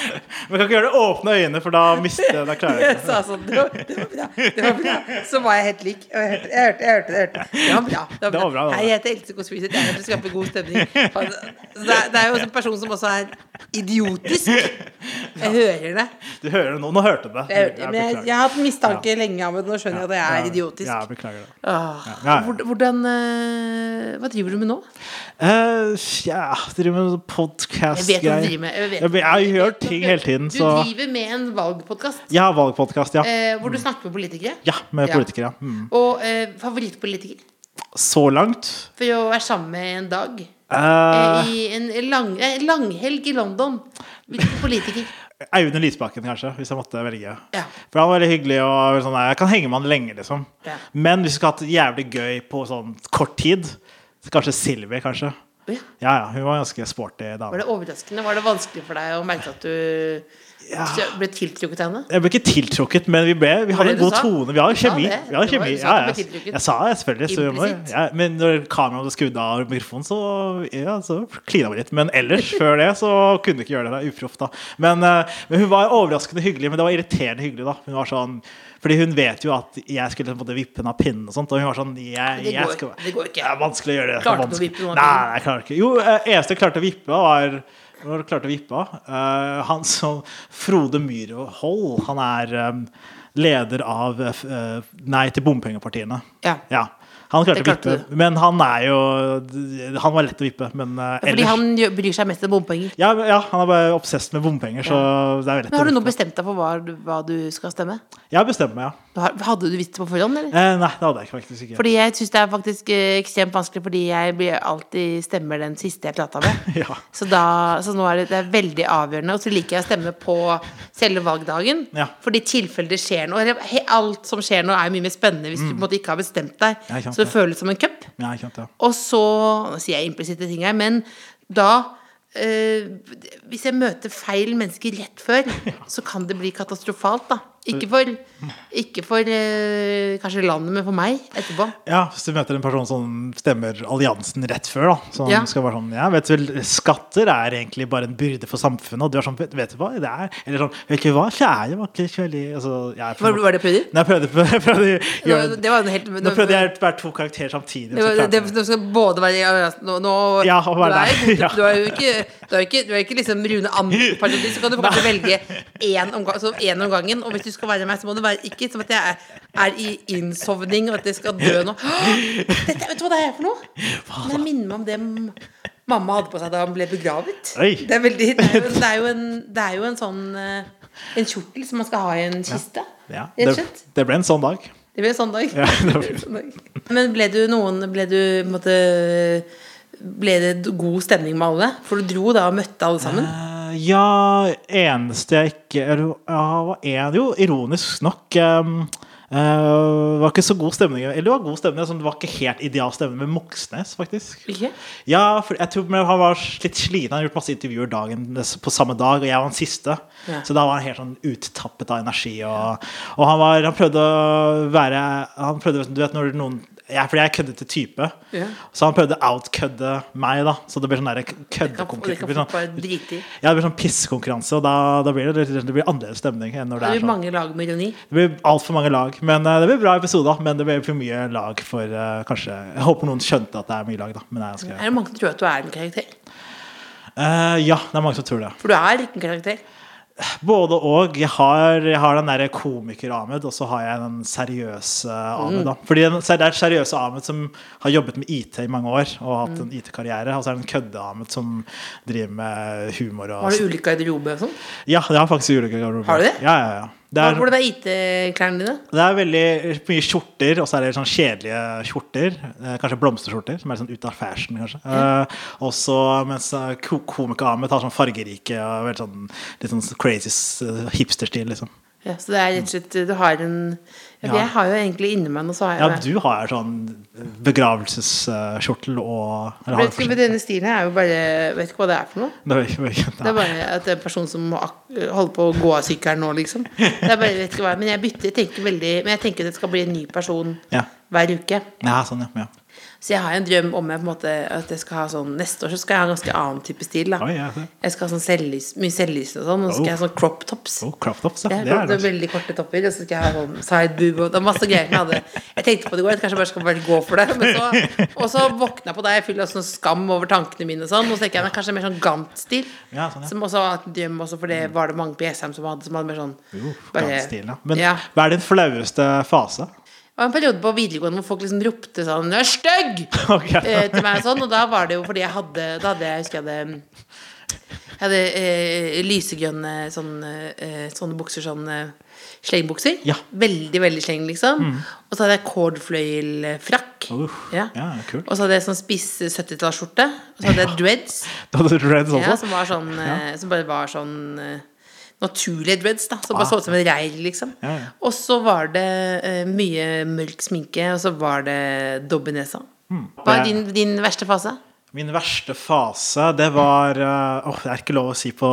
S4: [LAUGHS] Men jeg kan ikke gjøre det åpne øyne, for da
S3: [LAUGHS]
S4: mister jeg da klarer jeg
S3: Jeg
S4: ikke.
S3: sa sånn det var, det var bra. Det var bra. Så var jeg helt lik. Og Jeg hørte, jeg hørte, jeg hørte, jeg hørte. Det var bra. Det var bra.
S4: var bra, det var
S3: Hei, jeg heter Else Kåss Furuseth. Jeg er her for å skape god stemning. Så Det er, det er jo også en person som også er idiotisk. Jeg hører det.
S4: Du hører det nå. Nå hørte du det.
S3: Jeg, hørte, men jeg,
S4: beklager.
S3: jeg har hatt mistanke lenge om det. Nå skjønner jeg at jeg er idiotisk.
S4: Ja, jeg beklager det.
S3: Åh,
S4: Ja, ja.
S3: Ah. hvor- Hvordan eh, Hva driver du med nå?
S4: Eh, ja, driver med
S3: Jeg
S4: podkast
S3: vet hva du driver med. Jeg, vet.
S4: Jeg, jeg gjør ting hele tiden,
S3: Du
S4: så
S3: driver med en valgpodkast
S4: Jeg har valgpodkast, ja.
S3: eh, hvor du snakker med politikere.
S4: Ja, med
S3: ja.
S4: politikere. Mm.
S3: Og eh, favorittpolitiker
S4: Så langt
S3: for å være sammen med en dag.
S4: eh,
S3: Eh, I en lang, eh, langhelg i London. Hvilken
S4: [LAUGHS]
S3: politiker?
S4: Eh, Audun Lysbakken, kanskje, hvis jeg måtte velge.
S3: Ja.
S4: For han var veldig hyggelig. og sånn, Jeg kan henge med han lenge, liksom.
S3: Ja.
S4: Men hvis vi skulle hatt det jævlig gøy på sånn kort tid, så kanskje Silvi, kanskje.
S3: Ja.
S4: Ja, ja, hun var en ganske sporty
S3: Var
S4: dame.
S3: det overraskende? Var det vanskelig for deg å merke at du Så jeg Ble tiltrukket av henne?
S4: Jeg ble ikke tiltrukket, men vi, ble, vi hadde
S3: det
S4: en
S3: du
S4: god
S3: sa?
S4: tone. Vi har jo
S3: Du sa
S4: kjemi.
S3: det.
S4: Vi
S3: Det
S4: har
S3: var-
S4: kjemi.
S3: du sa
S4: Ja,
S3: at du ble
S4: jeg,
S3: tiltrykket.
S4: jeg sa det, selvfølgelig. Så vi må,
S3: Implisitt.
S4: ja, men når kameraet ble skrudd av og mikrofonen, så, ja, så klina vi litt. Men ellers,
S3: [LAUGHS]
S4: før det, så kunne vi ikke gjøre det. det er Uproft, da. Men, eh, men hun var overraskende hyggelig, men det var irriterende hyggelig, da. Hun var sånn, fordi hun vet jo at jeg skulle på en måte vippe henne av pinnen og sånt, og hun var sånn jeg,
S3: Det
S4: jeg
S3: går-
S4: skal,
S3: det går ikke.
S4: er vanskelig å gjøre det. det. er
S3: Klarte du å
S4: vanskelig.
S3: vippe noen av
S4: Nei,
S3: pinnen?
S4: Nei, jeg klarer ikke. Jo, eh, eneste jeg klarte å vippe av, var Når jeg klarte å vippe av eh, Han som Frode Myrhold, han er eh, leder av eh, f- eh, Nei til bompengepartiene.
S3: Ja.
S4: Han klarte,
S3: Det klarte
S4: å vippe, men han er jo Han var lett å vippe, men eh,
S3: Fordi
S4: ellers
S3: han gjør- bryr seg mest om bompenger.
S4: ja, men- ja, han er bare obsesst med bompenger, så det er jo lett
S3: Men har
S4: å
S3: du nå
S4: vippe.
S3: bestemt deg for hva, du- hva du skal stemme?
S4: Jeg har bestemt meg, ja.
S3: Du har- Hadde du visst det på forhånd, eller?
S4: Eh, nei, det hadde jeg faktisk ikke.
S3: Fordi jeg syns det er faktisk eh, ekstremt vanskelig, fordi jeg blir alltid stemmer den siste jeg prata med.
S4: [LAUGHS] Ja.
S3: Så, da, så nå er det, det er veldig avgjørende. Og så liker jeg å stemme på selve valgdagen.
S4: Ja.
S3: Fordi tilfelle det skjer noe. eller he- Alt som skjer nå, er jo mye mer spennende hvis du på en måte ikke har bestemt deg.
S4: Mm. Ja, ikke sant,
S3: så det føles som en cup.
S4: Ja, ikke sant, ja.
S3: Og så Nå sier jeg implisitte ting her, men da eh, Hvis jeg møter feil mennesker rett
S4: [LAUGHS]
S3: før, så kan det bli katastrofalt, da. Ikke for, ikke for eh, kanskje landet, men for meg etterpå.
S4: Ja, hvis du møter en person som stemmer alliansen rett før, da. Som
S3: Ja.
S4: skal være sånn Ja, vet du vel, skatter er egentlig bare en byrde for samfunnet, og du er sånn Vet, vet du hva, det er Eller sånn Vet du hva, kjære var ikke så veldig altså, jeg er for-
S3: Var, var det prøver?
S4: Nei, [LAUGHS] jeg prøvde, prøvde, prøvde å gjøre
S3: Nå- det var en helt-
S4: Nå prøvde jeg å være to karakterer samtidig.
S3: Det,
S4: så
S3: var-
S4: klarte
S3: det,
S4: jeg
S3: det skal både være ja, ja, nå, nå,
S4: Ja, og
S3: du,
S4: være
S3: er,
S4: der. Ja.
S3: du er jo ikke, du er ikke, du er ikke liksom Rune Andersen-parodi, så kan du kanskje velge én omgang, altså én om gangen. Og hvis du skal være meg, så må det være ikke som at jeg er, er i innsovning og at jeg skal dø nå. [GASPS] Dette, vet du hva det er for noe? Det minner meg om det m- mamma hadde på seg da hun ble begravet.
S4: Oi.
S3: Det er, veldig, det, er jo, det, er
S4: [LAUGHS]
S3: jo en, det er jo en sånn eh, En kjortel som man skal ha i en kiste.
S4: ja,
S3: Rett og
S4: det,
S3: slett.
S4: det ble en sånn dag. [LAUGHS]
S3: Det blir en sånn dag.
S4: Ja, det blir-
S3: En sånn dag. Men ble du noen Ble du på en måte Ble det god stemning med alle? For du dro da og møtte alle sammen.
S4: Eh, ja, eneste jeg ikke eller, ja, Hva er det jo? Ironisk nok ehm, eh, var ikke så god stemning. Eller det var god stemning, sånn, det var ikke helt ideal stemning med Moxnes, faktisk.
S3: Ikke?
S4: Ja, for jeg tror men han var litt sliten. Han hadde gjort masse intervjuer dagen på samme dag, og jeg var den siste.
S3: Ja.
S4: Så da var han helt sånn uttappet av energi. Og, og han, var, han prøvde å være Han prøvde, liksom, du vet når noen jeg, Fordi jeg er køddete type,
S3: Ja.
S4: så han prøvde å outkødde meg. da Så det blir sånn der
S3: Kan- Og det
S4: køddekonkurranse.
S3: kan
S4: Det blir
S3: fort
S4: sånn,
S3: være driti.
S4: ja, det blir sånn pissekonkurranse, og da, da blir det, det blir annerledes stemning. enn når
S3: Det
S4: det
S3: blir
S4: er sånn
S3: mange lag med ironi.
S4: det blir altfor mange lag. Men eh, det blir bra episoder. Men det blir for mye lag for eh, kanskje Jeg håper noen skjønte at det er mye lag, da. Men det er ganske
S3: Er det mange som tror at du er en karakter?
S4: Eh, ja, det er mange som tror det.
S3: For du er ikke en karakter.
S4: Både og. Jeg har, jeg har den derre komiker-Ahmed, og så har jeg den seriøse eh, Ahmed.
S3: Mm.
S4: da. Fordi den, så er det er seriøse Ahmed som har jobbet med IT i mange år og hatt
S3: Mm.
S4: en IT-karriere. Og så er det en kødde-Ahmed som driver med humor og
S3: Har du ulik garderobe og sånn?
S4: Ja, jeg har faktisk ulike garderober.
S3: Har du det?
S4: Ja, ja, ja. Det er,
S3: Hvordan er IT-klærne dine?
S4: det er veldig eh, mye skjorter, og så er det sånn kjedelige skjorter. eh, Kanskje blomsterskjorter, som er litt sånn ut av fashion, kanskje. Eh, og så mens eh, ko- komiker Ahmed har sånn fargerike og veldig sånn, litt sånn crazy eh, hipsterstil, liksom.
S3: Ja, så det er rett og slett Du har en ja, for
S4: Ja.
S3: Jeg har jo egentlig inni meg noe, så har jeg
S4: Ja,
S3: det.
S4: du har sånn begravelseskjortel og eller har
S3: Vet ikke,
S4: du
S3: men
S4: forskjell-
S3: Denne stilen her er jo bare Vet ikke hva det er for noe.
S4: Det var ikke- var ikke-
S3: Det
S4: [LAUGHS] nei.
S3: er bare at det er en person som må ak- holder på å gå av sykkelen nå, liksom. Det er bare, vet ikke hva, men jeg bytter, tenker veldig Men jeg tenker at det skal bli en ny person
S4: Ja.
S3: hver uke.
S4: Ja, sånn, ja. ja.
S3: Så jeg har en drøm om jeg på en måte, at jeg skal ha sånn Neste år så skal jeg ha en ganske annen type stil.
S4: Oi,
S3: da
S4: ja, se.
S3: Jeg skal ha sånn selvlys, mye selvlysende og sånn. Og så skal jeg ha sånn crop tops.
S4: Oh, crop tops, ja.
S3: Jeg
S4: Det
S3: har
S4: er altså.
S3: fått
S4: det.
S3: veldig korte topper, og så skal jeg ha sånn side boob og det er masse greier som jeg hadde. Jeg tenkte på det i går, at kanskje jeg bare skal bare gå for det. Men så, og så våkna jeg på det, jeg fyller sånn skam over tankene mine og sånn. Og så tenker jeg det er kanskje mer sånn Gant-stil.
S4: Ja, sånn, ja.
S3: Som også var en drøm, også, for det var det mange på SM som hadde, som hadde mer sånn
S4: Jo,
S3: bare-
S4: Gant-stilen, ja. Men
S3: ja.
S4: hva er din flaueste fase?
S3: Det var en periode på videregående hvor folk liksom ropte sånn 'Du er stygg!'
S4: [LAUGHS] Ok.
S3: eh, til meg og sånn. Og da var det jo fordi jeg hadde Da hadde jeg, husker jeg hadde Jeg hadde eh, lysegrønne sånne, eh, sånne bukser, sånn eh, slengbukser.
S4: Ja. Mm.
S3: Veldig, veldig sleng, liksom. Og så hadde jeg cordfløyelfrakk.
S4: Uff, ja, kult.
S3: Og så hadde jeg sånn spiss 70-tallsskjorte. Og så hadde jeg dreads,
S4: Du hadde dreads
S3: ja,
S4: også?
S3: som, var sånn, eh, som bare var sånn eh, naturlige dreads, da. Som bare
S4: Ah.
S3: så ut som en reir, liksom.
S4: Ja, ja.
S3: Og så var det eh,
S4: Hmm.
S3: mye mørk sminke, og så var det dobbelnesa. Hva er din, din verste fase?
S4: Min verste fase, det var eh, Åh, det er ikke lov å si på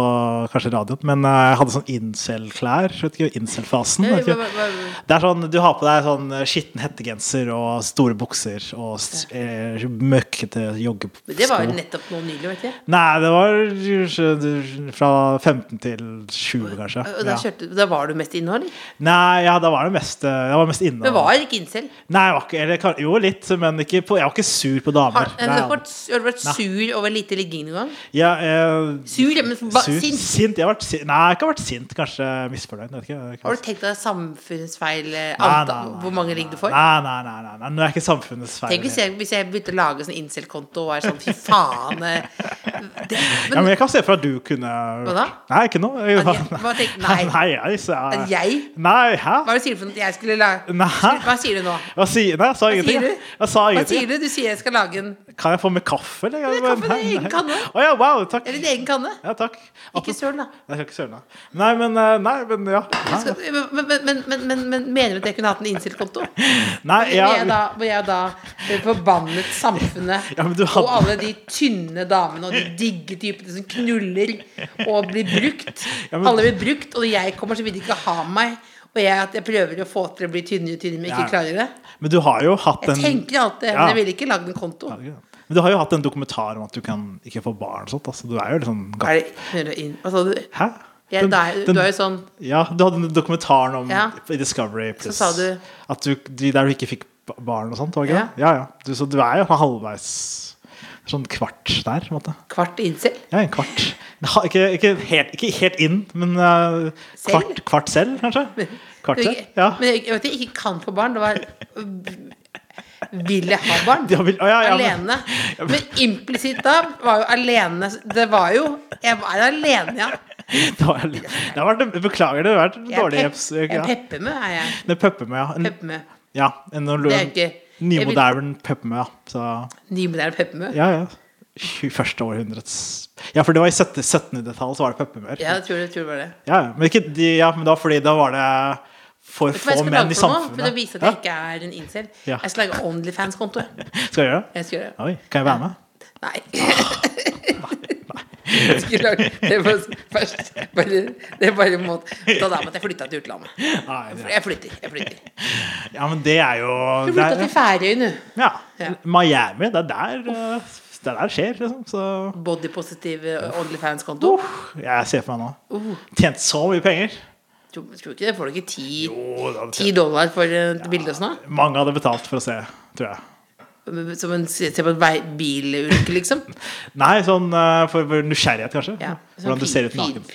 S4: kanskje radioen, men eh, jeg hadde sånn incel-klær. Vet ikke, incel-fasen.
S3: Nei,
S4: vet ikke.
S3: Eh, hva- hva- hva-
S4: Det er sånn, Du har på deg sånn eh, skitten hettegenser og store bukser og s- eh, møkkete joggesko.
S3: Men det var jo nettopp noe nylig, vet du.
S4: Nei, det var kanskje fra 15 til 20, kanskje.
S3: Og da,
S4: Ja.
S3: kjørte, da var du mest innhold.
S4: Nei, ja, da var det mest, eh, jeg var mest inne.
S3: Men var ikke incel.
S4: Nei, jeg var ikke, eller, kan- jo, litt, men ikke på, jeg var ikke sur på damer.
S3: Har, har,
S4: Nei,
S3: du vært, har du vært sur over lite ligging noen gang?
S4: ja, eh,
S3: Sur, ja, men ba,
S4: sur,
S3: sint.
S4: sint. Jeg har vært sint. Nei, ikke har vært sint. Kanskje misfornøyd. vet ikke,
S3: Har du tenkt deg samfunnsfeil eh,
S4: Nei,
S3: antall,
S4: nei, nei,
S3: Hvor mange ligg du får?
S4: Nei, nei, nei, nei, nei, nå er ikke samfunnets feil.
S3: Tenk hvis jeg, hvis jeg begynte å lage sånn incel-konto og er sånn fy faen eh, det,
S4: ja,
S3: men,
S4: men jeg kan se for at du kunne
S3: Hva da?
S4: Nei, ikke nå.
S3: At jeg- hva tenk- nei.
S4: [LAUGHS] nei, jeg, så,
S3: At jeg?
S4: Nei, hæ?
S3: Hva er det du sier du for noe at jeg skulle lage
S4: Nei.
S3: Hva sier du nå?
S4: Hva sier Nei, jeg sa
S3: Hva
S4: ingenting.
S3: sier du?
S4: jeg. Jeg sa
S3: Hva
S4: ingenting.
S3: sier du? Du sier jeg skal lage en
S4: Kan jeg få med kaffe, eller?
S3: Ja, kaffe, det er
S4: Nei,
S3: egen
S4: nei.
S3: kanne.
S4: Å ja, wow, takk.
S3: Eller din egen kanne?
S4: Ja, takk.
S3: Ikke søl, da.
S4: Jeg skal ikke søle. Nei, men eh, Nei, men ja. Nei,
S3: Skal, men, men, men, men, men, men mener du at jeg kunne hatt en incel-konto?
S4: nei
S3: Hvor jeg
S4: ja.
S3: da, hvor jeg da eh, forbannet samfunnet
S4: Ja, men du
S3: og
S4: hadde-
S3: alle de tynne damene og de digge typene som knuller og blir brukt.
S4: Ja, men-
S3: Alle blir brukt, og jeg kommer så vidt ikke ha meg. Og jeg, at jeg prøver å få til å bli tynnere og tynnere, men
S4: Ja.
S3: ikke klarer det.
S4: Men du har jo hatt
S3: Jeg
S4: en
S3: tenker alt det,
S4: Ja.
S3: men jeg ville ikke lagd en konto.
S4: Men du har jo hatt en dokumentar om at du kan ikke få barn og sånt. Altså, du er jo litt sånn gaff.
S3: Er det, hører du inn- hva sa du?
S4: Hæ?
S3: Jeg,
S4: Den-
S3: da er,
S4: den-
S3: du er jo sånn
S4: Ja, du hadde den dokumentaren om
S3: Ja.
S4: i Discovery Plus.
S3: sa du-
S4: At du, de der du ikke fikk ba- barn og sånt, var det ikke
S3: Ja.
S4: det? Ja, ja. Du, så du er jo sånn halvveis Sånn kvart der, på en måte.
S3: kvart incel.
S4: Ja, en kvart. [LAUGHS] Ha, ikke, ikke, helt, ikke helt inn, men eh,
S3: Selv?
S4: kvart, kvart selv, kanskje? Kvart selv, ja.
S3: Men jeg, jeg vet jeg ikke kan få barn. Det var Vil jeg ha barn?
S4: [LAUGHS] Ja, vil- ja, ja, men-
S3: alene. Men, implisitt da var jo alene Det var jo Jeg var alene, ja.
S4: [LAUGHS] Det, var, litt- det har vært, en- beklager, det har vært en
S3: Jeg er
S4: dårlig
S3: pep-
S4: eps-
S3: jeg er
S4: ja. Mm.
S3: peppemø, er jeg.
S4: Det er Pøppemø, ja. En,
S3: Peppemø.
S4: ja en,
S3: Det er jo ikke jeg vil-
S4: Nymodern Pøppemø, ja. Så,
S3: Nymoderne peppemø.
S4: ja, ja. 21. århundrets Ja, for det var i 17- 1700-tallet så var det Pøppemøer.
S3: Ja, jeg tror, jeg tror det var det.
S4: Ja, ja, men, ikke, de, ja, men da fordi da var det for
S3: Vet du hva jeg
S4: få
S3: skal
S4: menn
S3: lage
S4: i
S3: for noe? For å
S4: samfunnet.
S3: vise at jeg ikke er en incel.
S4: Ja.
S3: Jeg skal lage Onlyfans-konto. jeg.
S4: Skal jeg gjøre det?
S3: Jeg skal gjøre det.
S4: Oi, kan jeg være med?
S3: Nei. [LAUGHS] Jeg skulle lage- Det var først bare, Det er bare en måte Da da måtte jeg flytte til utlandet.
S4: Nei, det,
S3: Jeg flytter. jeg flytter Jeg
S4: ja, men det er jo det
S3: flytta
S4: er,
S3: til Færøyene.
S4: ja.
S3: Ja.
S4: Miami, det er der eh, det er der det skjer, liksom. Så uh,
S3: Bodypositiv eh, Onlyfans-konto. Uh.
S4: jeg ser for meg nå. Tjent så mye penger.
S3: Tror tror du ikke det? Får du ikke ti,
S4: Å, det hadde
S3: ti dollar for eh, et bilde og sånn? da?
S4: tjent- Mange hadde betalt for å se, tror jeg.
S3: Som en se på en vei- bilulykke,
S4: [LAUGHS]
S3: liksom?
S4: Nei, sånn eh, for, for nysgjerrighet, kanskje.
S3: Ja. sånn
S4: Hvordan du ser ut naken.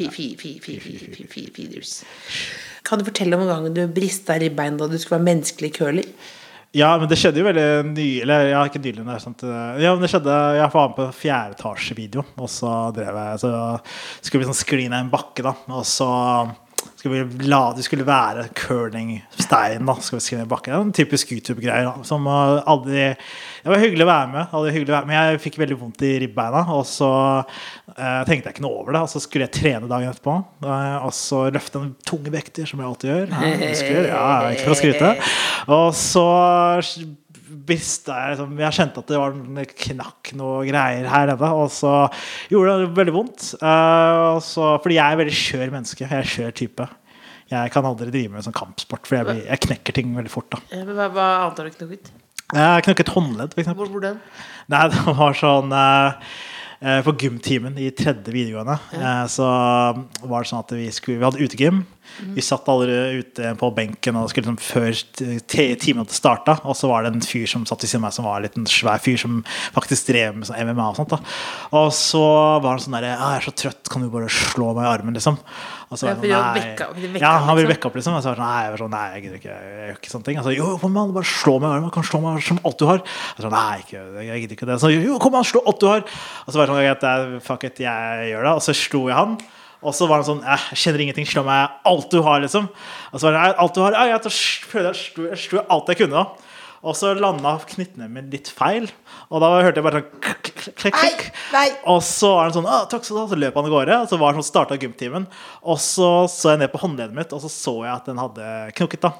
S3: Feeders. Kan du fortelle om en gang du brista ribbein da du skulle være menneskelig curler?
S4: Ja, men det skjedde jo veldig nylig. Eller ja, ikke nylig, men det er sant. eh, Ja, men det skjedde Jeg var med på en fjerdeetasjevideo, og så drev jeg Så skulle vi sånn skli ned en bakke, da, og så skulle vi la det skulle være curlingstein, da. Skal vi skli ned en bakke. Det er en typisk YouTube-greier, da. Som eh, aldri Det var hyggelig å være med, aldri hyggelig å være med, men jeg fikk veldig vondt i ribbeina, og så eh, tenkte jeg ikke noe over det. Og så skulle jeg trene dagen etterpå, eh, og så løfte en tunge vekter, som jeg alltid gjør. Nei, muskler, ja, ikke for å skryte. [LAUGHS] Og så brista jeg liksom Jeg kjente at det var en knakk noe greier her nede. Og så gjorde det veldig vondt. Eh, og så, fordi jeg er veldig skjør menneske. Jeg er skjør type. Jeg kan aldri drive med sånn kampsport, for jeg, blir, jeg knekker ting veldig fort. da
S3: Eh, Hva, hva annet har du knukket?
S4: Jeg knakk et håndledd, f.eks.
S3: Hvor- Hvordan?
S4: Nei, [LAUGHS] det var sånn eh, eh, På gymtimen i tredje videregående eh, så var det sånn at vi, skulle, vi hadde utegym.
S3: Mhm.
S4: Vi satt alle ute på benken og skulle liksom før t- t- timen hadde starta. Og så var det en fyr som satt ved siden av meg som var en liten svær fyr som faktisk drev med sånn MMA og sånt. da Og så var han sånn derre «Ah, 'Jeg er så trøtt, kan du bare slå meg i armen', liksom. Og så
S3: Ja,
S4: var
S3: for
S4: jeg
S3: å
S4: sånn,
S3: vekke opp-
S4: «Nei».
S3: vekke
S4: Ja,
S3: opp,
S4: han ville
S3: liksom.
S4: vekke opp, liksom. Og så var jeg sånn, nei, jeg var sånn, nei, jeg gidder ikke, jeg gjør ikke sånne ting. Altså, jo, kom an, bare slå meg i armen, kan slå meg som alt du har. Jeg var sånn, nei, ikke, jeg gidder ikke det. Så, jo, kom an, slå alt du har. Og så var jeg sånn, greit, det er- fuck it, jeg gjør det. Og så slo jeg han. Og så var han sånn, eh, jeg kjenner ingenting, slå meg alt du har, liksom. Og så var det, alt du har, ja, jeg prøvde, jeg slo, jeg slo alt jeg kunne da. Og så landa knyttene mine litt feil. Og da hørte jeg bare sånn klikk, klikk, klikk, klikk.
S3: Nei, nei.
S4: Og så var han sånn «Å, takk skal du ha, så løp han av gårde. Og så var han sånn, startet gymtimen. Og så så jeg ned på håndleddet mitt, og så så jeg at den hadde knokket. da.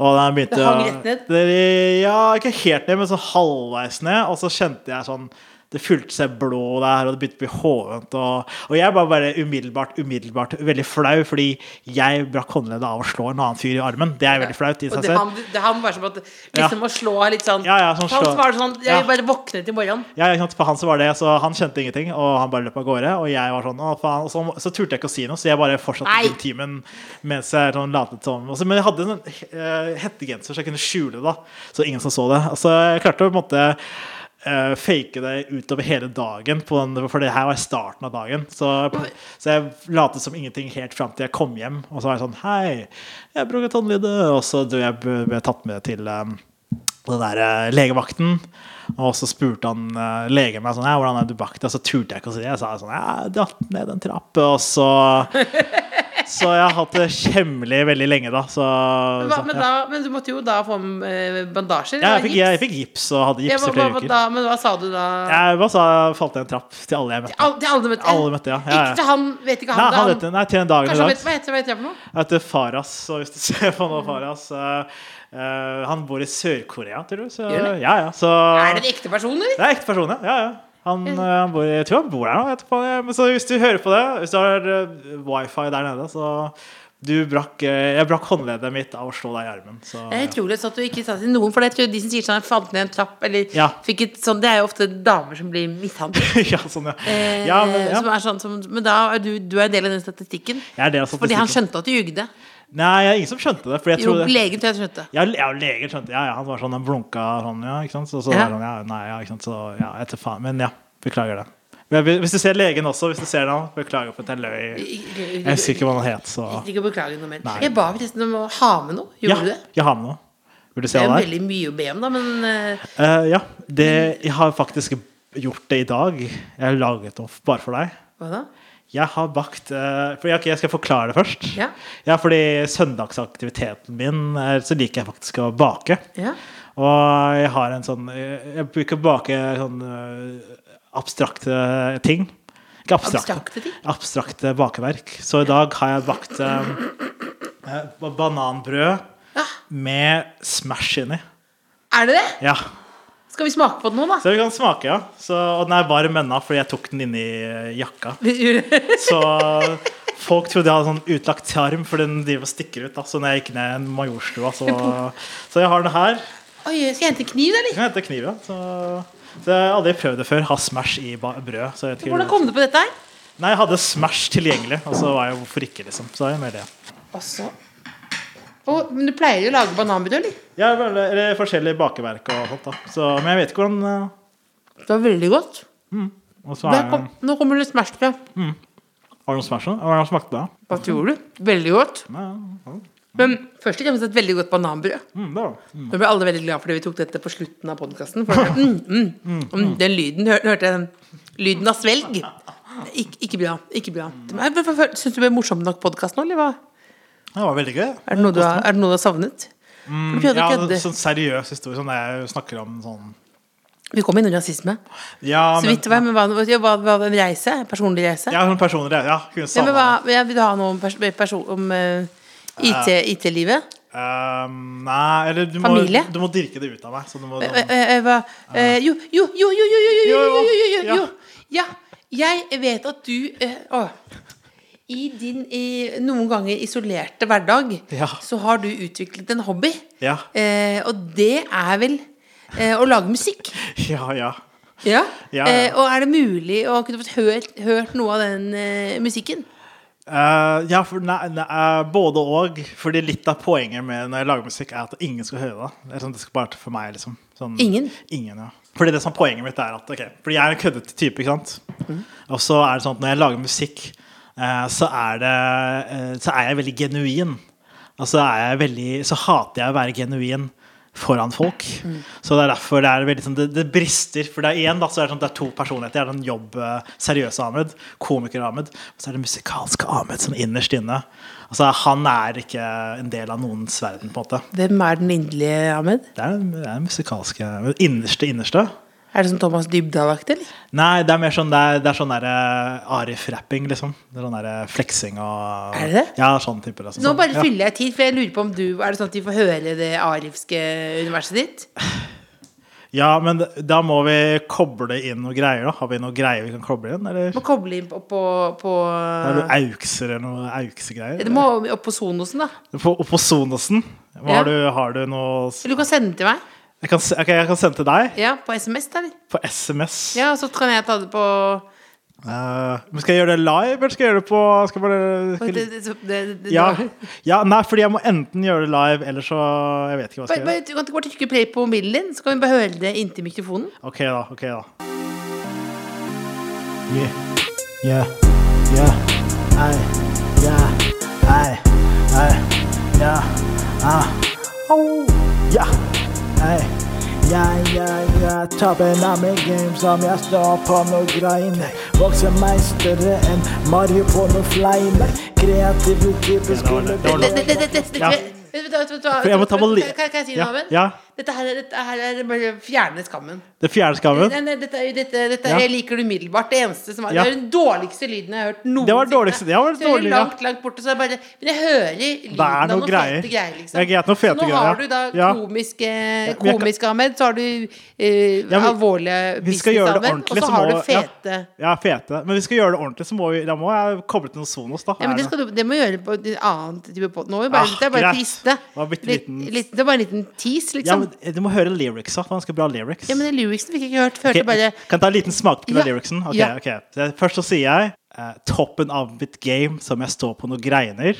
S4: Og den begynte
S3: Det hang rett ned?
S4: Det, ja, ikke helt ned, men sånn halvveis ned. Og så kjente jeg sånn Det fylte seg blå der, og det begynte å bli hovent. Og, og jeg var bare umiddelbart umiddelbart veldig flau, fordi jeg brakk håndleddet av å slå en annen fyr i armen. Det er veldig flaut i
S3: Og
S4: seg
S3: det,
S4: selv.
S3: han, det, han var som at liksom
S4: Ja.
S3: å slå litt sånn
S4: Ja, ja, sånn
S3: Han
S4: slå.
S3: var sånn Jeg
S4: Ja.
S3: bare våknet i morgen.
S4: Ja, ikke sant? For han så var det, så han kjente ingenting, og han bare løp av gårde. Og jeg var sånn, å faen, og så, så turte jeg ikke å si noe, så jeg bare fortsatte
S3: Nei.
S4: den timen mens jeg sånn, latet som. Og så- men jeg hadde en eh, hettegenser, så jeg kunne skjule det, da, så ingen som så det. Og så jeg klarte å på en måte eh, fake det utover hele dagen, på den, for det her var starten av dagen. Så, så jeg latet som ingenting helt fram til jeg kom hjem, og så var jeg sånn Hei, jeg bruker tannlyde. Og så ble jeg ble jeg tatt med til eh, den der eh, legevakten. Og så spurte han eh, legen meg sånn, ja, hvordan er du bak deg? Så turte jeg ikke å si det. Jeg sa sånn, jeg datt ned en trapp. Og så Så jeg har hatt det kjemmelig veldig lenge, da. Så,
S3: Hva,
S4: så
S3: men,
S4: ja.
S3: da, men du måtte jo da få eh, bandasjer?
S4: Ja,
S3: eller
S4: jeg, fikk,
S3: gips?
S4: jeg, jeg fikk gips og hadde
S3: Ja,
S4: gips
S3: hva-
S4: i flere
S3: hva-
S4: uker.
S3: Da, men hva sa du da?
S4: Jeg bare sa falt ned en trapp til alle jeg møtte.
S3: Al- Til alle møtte?
S4: Alle møtte, ja. Ja, ja.
S3: Ikke til han, vet ikke
S4: Nei,
S3: han,
S4: han
S3: til
S4: vet, det. nei, til den dagen i
S3: Kanskje han
S4: dag.
S3: vet Mm. hva heter, hva heter han for noe?
S4: Jeg heter Faras, og hvis du [LAUGHS] ser på nå, Faras eh, eh, Han bor i Sør-Korea, tror du. Så,
S3: Gjør han det?
S4: ja, ja, så
S3: Er det en ekte person, eller?
S4: Det er ekte person, ja. ja, ja. Han, eh, han bor, jeg tror han bor der nå. Etterpå. ja. Men så hvis du hører på det, hvis du har eh, wifi der nede, så du brakk, eh, Jeg brakk håndleddet mitt av å slå deg i armen. Så,
S3: Det er utrolig at du ikke sa til noen, for jeg tror de som sier sånn jeg falt ned en trapp, eller
S4: Ja.
S3: fikk et sånn, det er jo ofte damer som blir mishandlet.
S4: [LAUGHS] ja, sånn, ja. ja, men,
S3: Eh,
S4: ja.
S3: Som er sånn som, men da er du, du er en del av den statistikken.
S4: Jeg er del av
S3: Fordi han
S4: statistikken.
S3: skjønte at du jugde.
S4: Nei, det er ingen som skjønte det. Fordi jeg
S3: Jo,
S4: tror det.
S3: legen tror jeg skjønte.
S4: Ja, le- ja, legen skjønte ja, ja, Han var sånn, han blunka sånn, ja, ikke sant. Så, så
S3: Ja.
S4: var han, ja, nei, ja, ikke sant. Så, ja, jeg vet faen. Men ja, beklager det. Men jeg- Hvis du ser legen også, hvis du ser ham, beklager for at jeg løy. Jeg husker ikke hva han het, så
S3: Jeg Ikke beklage noe mer.
S4: Nei.
S3: Jeg ba forresten om å ha med noe.
S4: Ja,
S3: Gjorde du det?
S4: jeg har med noe. Vil du se
S3: Det er jo
S4: hva det er?
S3: veldig mye å be om, da, men eh,
S4: Eh, ja, det, jeg har faktisk gjort det i dag. Jeg har laget noe bare for deg.
S3: hva da?
S4: Jeg har bakt eh, for jeg, ok, jeg skal forklare det først.
S3: Ja.
S4: fordi søndagsaktiviteten min eh, så liker jeg faktisk å bake.
S3: Ja.
S4: Og jeg har en sånn eh, Jeg bruker å bake sånn eh, abstrakte ting. Ikke abstrakte.
S3: Abstrakte ting?
S4: Abstrakte bakeverk. Så i dag har jeg bakt eh, eh, bananbrød med Smash inni.
S3: Er det det?
S4: Ja.
S3: Skal vi smake på det nå, da?
S4: Så vi kan smake, ja. Så, og den er varm ennå, fordi jeg tok den inni eh, jakka.
S3: [LAUGHS]
S4: Så folk trodde jeg hadde sånn utlagt tarm, for den driver og stikker ut. Da. Så når jeg gikk ned i en majorstua, så, så jeg har den her.
S3: Oi, skal jeg hente kniv, eller?
S4: Jeg henter kniv, ja. Så, så jeg har aldri prøvd det før. Ha Smash i ba- brød. Så jeg vet ikke-
S3: Hvordan kom du på dette her?
S4: Nei, jeg hadde Smash tilgjengelig, og så var jeg hvorfor ikke, liksom. Så er jeg med det.
S3: Og så Altså. Å, Men du pleier jo å lage bananbrød, eller?
S4: Jeg har vel- eller forskjellige bakeverk og sånt, da. Så, men jeg vet ikke hvordan eh,
S3: Det var veldig godt.
S4: og så er,
S3: Der
S4: Har
S3: kom, nå kommer det smertefra.
S4: du noen Smash nå? Har du smakt det?
S3: Hva tror du? Veldig godt.
S4: Nei, ja.
S3: Men først og fremst et veldig godt bananbrød.
S4: Mm, det var det. Mm.
S3: Nå ble alle veldig glad fordi vi tok dette på slutten av podkasten. Mm, mm, mm, den lyden hør, hørte jeg den lyden av svelg. Ik ikke bra. ikke bra Syns du det ble morsom nok podkast nå, eller hva?
S4: Det var veldig gøy.
S3: Er det noe du har, er det noe du har savnet? For du prøvde
S4: Ja,
S3: å
S4: det er
S3: kødde.
S4: en sånn seriøs historie som jeg snakker om sånn
S3: Vi kom innom rasisme.
S4: Ja,
S3: Så vidt det var, men hva, hva, hva, hva en reise? En personlig reise?
S4: ja, sånn personlig. Ja, kunne
S3: Ja, men
S4: savna
S3: hva, ja, vil du ha noe om, pers person, om eh, IT, IT-livet?
S4: Ehm, Nei, eller du må,
S3: Familie?
S4: du må dirke det ut av meg. Så du må,
S3: Eh, eh, eh, hva- eh, Jo, jo, jo, jo, jo, jo, jo, jo, jo, jo, jo,
S4: Ja.
S3: jo. Ja, jeg vet at du eh, å, I din i, noen ganger isolerte hverdag
S4: Ja.
S3: så har du utviklet en hobby.
S4: Ja.
S3: Eh, og det er vel eh, å lage musikk.
S4: ja, ja.
S3: Ja.
S4: Ja, ja.
S3: Eh, og er det mulig å kunne fått hørt, hørt noe av den eh, musikken?
S4: Eh, ja, for nei, nei, eh, både og. Fordi litt av poenget med når jeg lager musikk, er at ingen skal høre det. Det, er sånn, det skal bare være for meg, liksom. Sånn,
S3: Ingen?
S4: Ingen, ja. Fordi det som er poenget mitt er at ok, Fordi jeg er en køddete type, ikke sant. Og så er det sånn at når jeg lager musikk, eh, så er det eh, Så er jeg veldig genuin. Og så er jeg veldig Så hater jeg å være genuin foran folk. Så det er derfor det er veldig sånn Det, det brister. For det er igjen da, så er det sånn at det er to personligheter. Det er den jobb eh, seriøse Ahmed, komiker-Ahmed, og så er det musikalske Ahmed sånn innerst inne. Altså, han er ikke en del av noens verden, på en måte.
S3: Hvem er den inderlige, Ahmed?
S4: Det er det er musikalske Innerste, innerste.
S3: Er det sånn Thomas Dybdahl-aktig, eller?
S4: Nei, det er mer sånn Det er, det er sånn derre Arif-rapping, liksom. Det er sånn derre fleksing og
S3: Er det det?
S4: Ja, sånn type. Liksom.
S3: Nå
S4: Sånn,
S3: bare
S4: ja.
S3: fyller jeg tid, for jeg lurer på om du Er det sånn at de får høre det arifske universet ditt?
S4: Ja, men da må vi koble inn noe greier, da. Har vi noe greier vi kan koble inn, eller?
S3: Må koble inn på, på, på
S4: Er det noe aukser eller noe auksegreier?
S3: Det må opp på Sonosen, da.
S4: På, på Sonosen?
S3: Ja.
S4: Har, du, har du noe s-
S3: Eller du kan sende det til meg.
S4: jeg kan, s- ok, jeg kan sende til deg
S3: Ja, På SMS, da. eller?
S4: på SMS.
S3: Ja, så kan jeg ta det på
S4: Eh, men skal jeg gjøre det live, eller skal jeg gjøre det på skal jeg bare,
S3: det,
S4: skal,
S3: det, det, det, det-
S4: ja. ja, Nei, fordi jeg må enten gjøre det live, eller så Jeg vet ikke hva jeg
S3: Bare, bare,
S4: skal gjøre.
S3: du kan ikke bare trykke play på mobilen din, så kan vi bare høre det inntil mikrofonen.
S4: Ok, da. ok da Yeah, yeah, yeah. Ei, yeah, ei, ei, yeah, ah. Au, yeah, ei. Yeah, yeah, yeah. Toppen av mitt game som jeg står på noe grein. Vokser meg større enn Mario på noe flein. Kreativ type skole
S3: Det- det- det- det- det-
S4: Ja.
S3: det- Vet du hva, vet du hva,
S4: For jeg må ta på li-
S3: Kan- Kan kan jeg si
S4: Ja,
S3: noe, Aven?
S4: ja.
S3: Dette her, er- dette her er bare å fjerne skammen.
S4: Det fjerde
S3: Nei, nei, dette, er- dette, dette
S4: Ja.
S3: jeg liker du umiddelbart. Det eneste som var
S4: Ja.
S3: Det er den dårligste lyden jeg har hørt noensinne.
S4: Det var dårligste- det var
S3: Så jeg hører
S4: dårlig, ja.
S3: langt, langt borte, så jeg bare Men jeg hører lyden
S4: noe
S3: av noen
S4: greier.
S3: fete greier, liksom.
S4: Det er greit, noen fete
S3: Så nå
S4: greier, ja.
S3: har du da
S4: Ja.
S3: komisk, eh,
S4: men jeg
S3: komisk Ahmed, så har du eh,
S4: Ja, men
S3: alvorlige
S4: Vi skal gjøre det
S3: business-Ahmed,
S4: ordentlig,
S3: og
S4: så
S3: så har
S4: må-
S3: du fete
S4: ja, ja, fete. Men vi skal gjøre det ordentlig, så må vi, da må jeg koble til noen Sonos, da.
S3: Ja, men det, skal du, det må du gjøre på en annen type pod. Nå er vi bare,
S4: Ah,
S3: det er bare
S4: greit.
S3: triste.
S4: Det var bitte
S3: Litt-
S4: liten-
S3: litt- det var bare en liten tease,
S4: ja,
S3: liksom.
S4: men, eh, du må høre lyricsa. Det var ganske bra lyrics.
S3: Ja, men den lyricsen fikk jeg ikke hørt. Følte
S4: Ok,
S3: bare
S4: Kan jeg ta en liten smakprøve av
S3: Ja,
S4: lyricsen? Ok,
S3: ja.
S4: ok. Så Først så sier jeg eh, Toppen av mitt game som jeg står på noe greiner.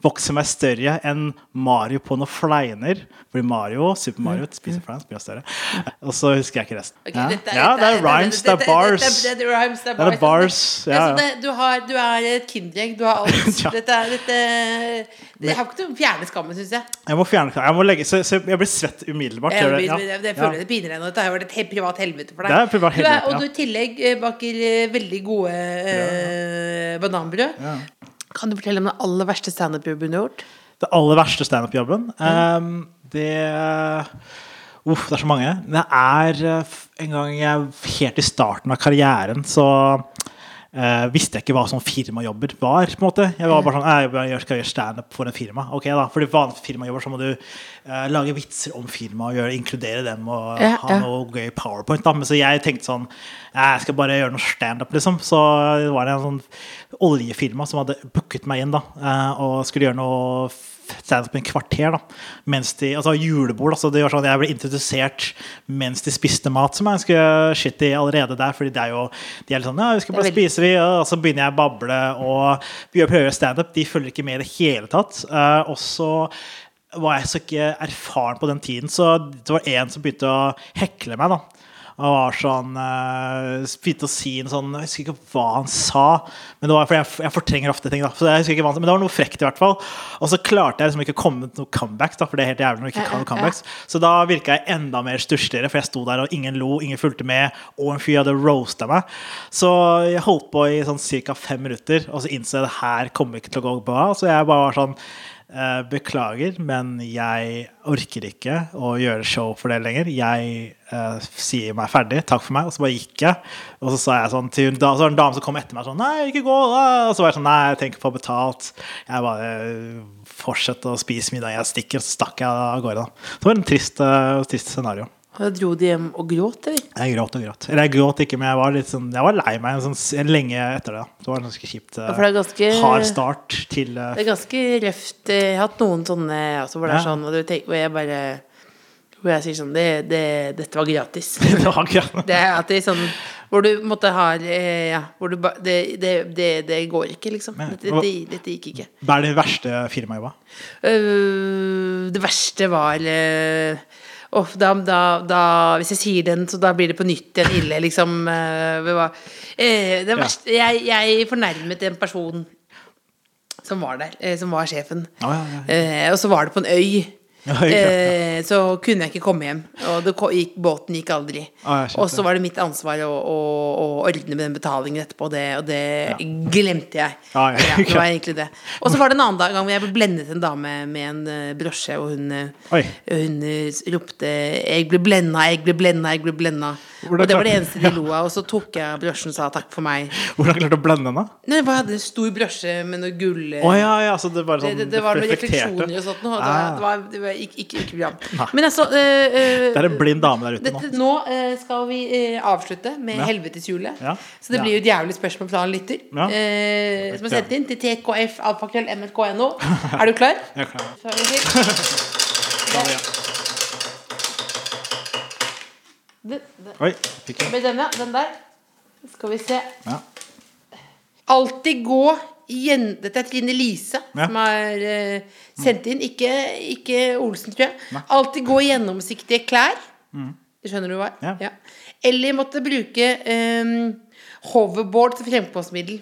S4: Vokser meg større enn Mario på noe fleiner. Blir Mario, Super Mario spiser flein, blir jeg større. Eh, Og så husker jeg ikke resten.
S3: Mm. Ok,
S4: ja.
S3: dette
S4: ja, det er
S3: dette
S4: rhymes, det
S3: dette-
S4: er bars.
S3: dette- Det er rhymes, det er
S4: Det er
S3: bars.
S4: bars,
S3: Det er
S4: ja,
S3: sånn
S4: ja.
S3: det- Du, har, du er et kinderegg,
S4: [LAUGHS]
S3: du har alt.
S4: Ja.
S3: Dette er dette Jeg har ikke noe å fjerne skammen, syns jeg.
S4: Jeg må fjerne Jeg må legge så, så jeg blir svett umiddelbart.
S3: Jeg,
S4: gjør det?
S3: jeg,
S4: Ja.
S3: jeg,
S4: Ja.
S3: føler det piner deg nå. Dette har vært et helt privat helvete for deg.
S4: Det er et privat
S3: du er,
S4: helvete,
S3: og du
S4: ja.
S3: i tillegg eh, baker eh, veldig gode eh, bananbrød.
S4: Ja.
S3: Kan du fortelle om den aller verste standup-jobben du har gjort?
S4: Det aller verste standup-jobben?
S3: Mm.
S4: ehm, det Uff, det er så mange. Det er eh, f- en gang jeg helt i starten av karrieren, så eh, visste jeg ikke hva sånn firmajobber var. på en måte. Jeg
S3: Mm.
S4: var bare sånn, «Eh, jeg bare skal gjøre standup for en firma. Ok da, For vanlige firmajobber så må du eh, lage vitser om firmaet og gjøre, inkludere dem. og
S3: Ja,
S4: ha
S3: ja.
S4: noe gøy powerpoint. da, Men så jeg tenkte sånn «Eh, Jeg skal bare gjøre noe standup, liksom. Så det var det en sånn oljefirma som hadde booket meg inn da, eh, og skulle gjøre noe standup i en kvarter. da, mens de, altså Julebord. da, så det var sånn at Jeg ble introdusert mens de spiste mat, som er ganske shitty allerede der. fordi det er jo, de er litt sånn ja, vi skal bare
S3: Det er veldig-
S4: spiser vi, og så begynner jeg å bable og vi prøver å gjøre standup. De følger ikke med i det hele tatt. Eh, og så var jeg så ikke erfaren på den tiden, så det var en som begynte å hekle meg. da. Og var sånn eh, Begynte å si en sånn Jeg husker ikke hva han sa. Men det var fordi jeg, jeg fortrenger ofte ting, da. Så jeg husker ikke hva han sa, men det var noe frekt, i hvert fall. Og så klarte jeg liksom ikke å komme med noe comebacks, da, for det er helt jævlig når du ikke kan noe comebacks. Så da virka jeg enda mer stussligere, for jeg sto der, og ingen lo, ingen fulgte med, og en fyr hadde roasta meg. Så jeg holdt på i sånn ca. fem minutter, og så innså jeg det her kommer ikke til å gå bra. Så jeg bare var sånn eh, Beklager, men jeg orker ikke å gjøre show for det lenger. Jeg eh, sier meg ferdig, takk for meg, og så bare gikk jeg. Og så sa jeg sånn til en, da, så var det en dame som kom etter meg sånn Nei, ikke gå! Da. Og så var jeg sånn Nei, jeg tenker på å få betalt. Jeg bare fortsetter å spise middag, jeg stikker, så stakk jeg av gårde. da. Så det var en trist, eh, trist scenario.
S3: Og Da dro de hjem og gråt, eller?
S4: Jeg gråt og gråt. Eller jeg gråt ikke, men jeg var litt sånn Jeg var lei meg en sånn, lenge etter det. da. Det var en ganske kjipt. eh,
S3: Ja, for det er ganske-
S4: Hard start til eh,
S3: Det er ganske røft. Jeg har hatt noen sånne altså, hvor det er
S4: Ja.
S3: sånn, og du tenker, hvor jeg bare Hvor jeg sier sånn det, det, Dette var gratis. [LAUGHS]
S4: [LAUGHS] Det var akkurat
S3: Det er at det er sånn Hvor du måtte ha eh, Ja, hvor du ba, det, det, det, det går ikke, liksom.
S4: Men-
S3: Dette, dette, dette gikk ikke.
S4: Hva er det verste firmajobba?
S3: Øh, det verste var øh, åh, da, da, da, Hvis jeg sier den, så da blir det på nytt igjen ille, liksom. øh, det var- eh, det
S4: Ja.
S3: verste, jeg, jeg fornærmet en person som var der, eh, som var sjefen.
S4: Ja, ja, ja.
S3: Eh, og så var det på en
S4: [LAUGHS]
S3: øy.
S4: Ja, ikke sant,
S3: Eh, så kunne jeg ikke komme hjem, og det ko- gikk, båten gikk aldri.
S4: Ah, jeg skjønte.
S3: og så var det mitt ansvar å, å, å ordne med den betalingen etterpå, og det, og det glemte jeg.
S4: Ah, ja, [LAUGHS]
S3: Ja, det
S4: klart.
S3: var egentlig det. Og så var det en annen dag- gang hvor jeg ble blendet en dame med en eh, brosje, og hun, eh,
S4: Oi.
S3: hun eh, ropte 'Jeg ble blenda, jeg ble blenda, jeg ble blenda'.
S4: Hvordan
S3: Og det var det
S4: klarte-
S3: eneste de lo av. Og så tok jeg brøsjen og sa takk for meg.
S4: Hvordan klarte du å blende henne?
S3: Nei, jeg hadde en stor brøsje med noe gull eh,
S4: Å ja, ja, så det bare
S3: det,
S4: sånn
S3: det, det var noen
S4: reflekterte.
S3: refleksjoner og sånt. Noe, og
S4: Ah.
S3: det, var, det var ikke, ikke, ikke bra. Men altså eh, eh,
S4: Det er en blind dame der ute nå.
S3: dette, nå eh, skal vi eh, avslutte med
S4: Ja.
S3: helveteshjulet.
S4: Ja.
S3: Så det
S4: Ja.
S3: blir jo et jævlig spørsmål fra en lytter.
S4: Ja.
S3: eh, som er sendt inn til tkf.alfakrøll.mrk.no.
S4: [LAUGHS]
S3: Er du klar?
S4: Jeg er klar.
S3: Så er vi
S4: [LAUGHS]
S3: klar.
S4: Ja, ja.
S3: Den, den,
S4: Oi, fikk jeg.
S3: med denne, den der. Skal vi se.
S4: Ja.
S3: Alltid gå igjen. Dette er Trine Lise
S4: Ja.
S3: som har eh, sendt inn. Ikke, ikke Olsen, tror jeg. Alltid gå i gjennomsiktige klær. Det skjønner du hva er?
S4: Mm. Ja.
S3: Eller måtte bruke eh, hoverboard til fremkomstmiddel.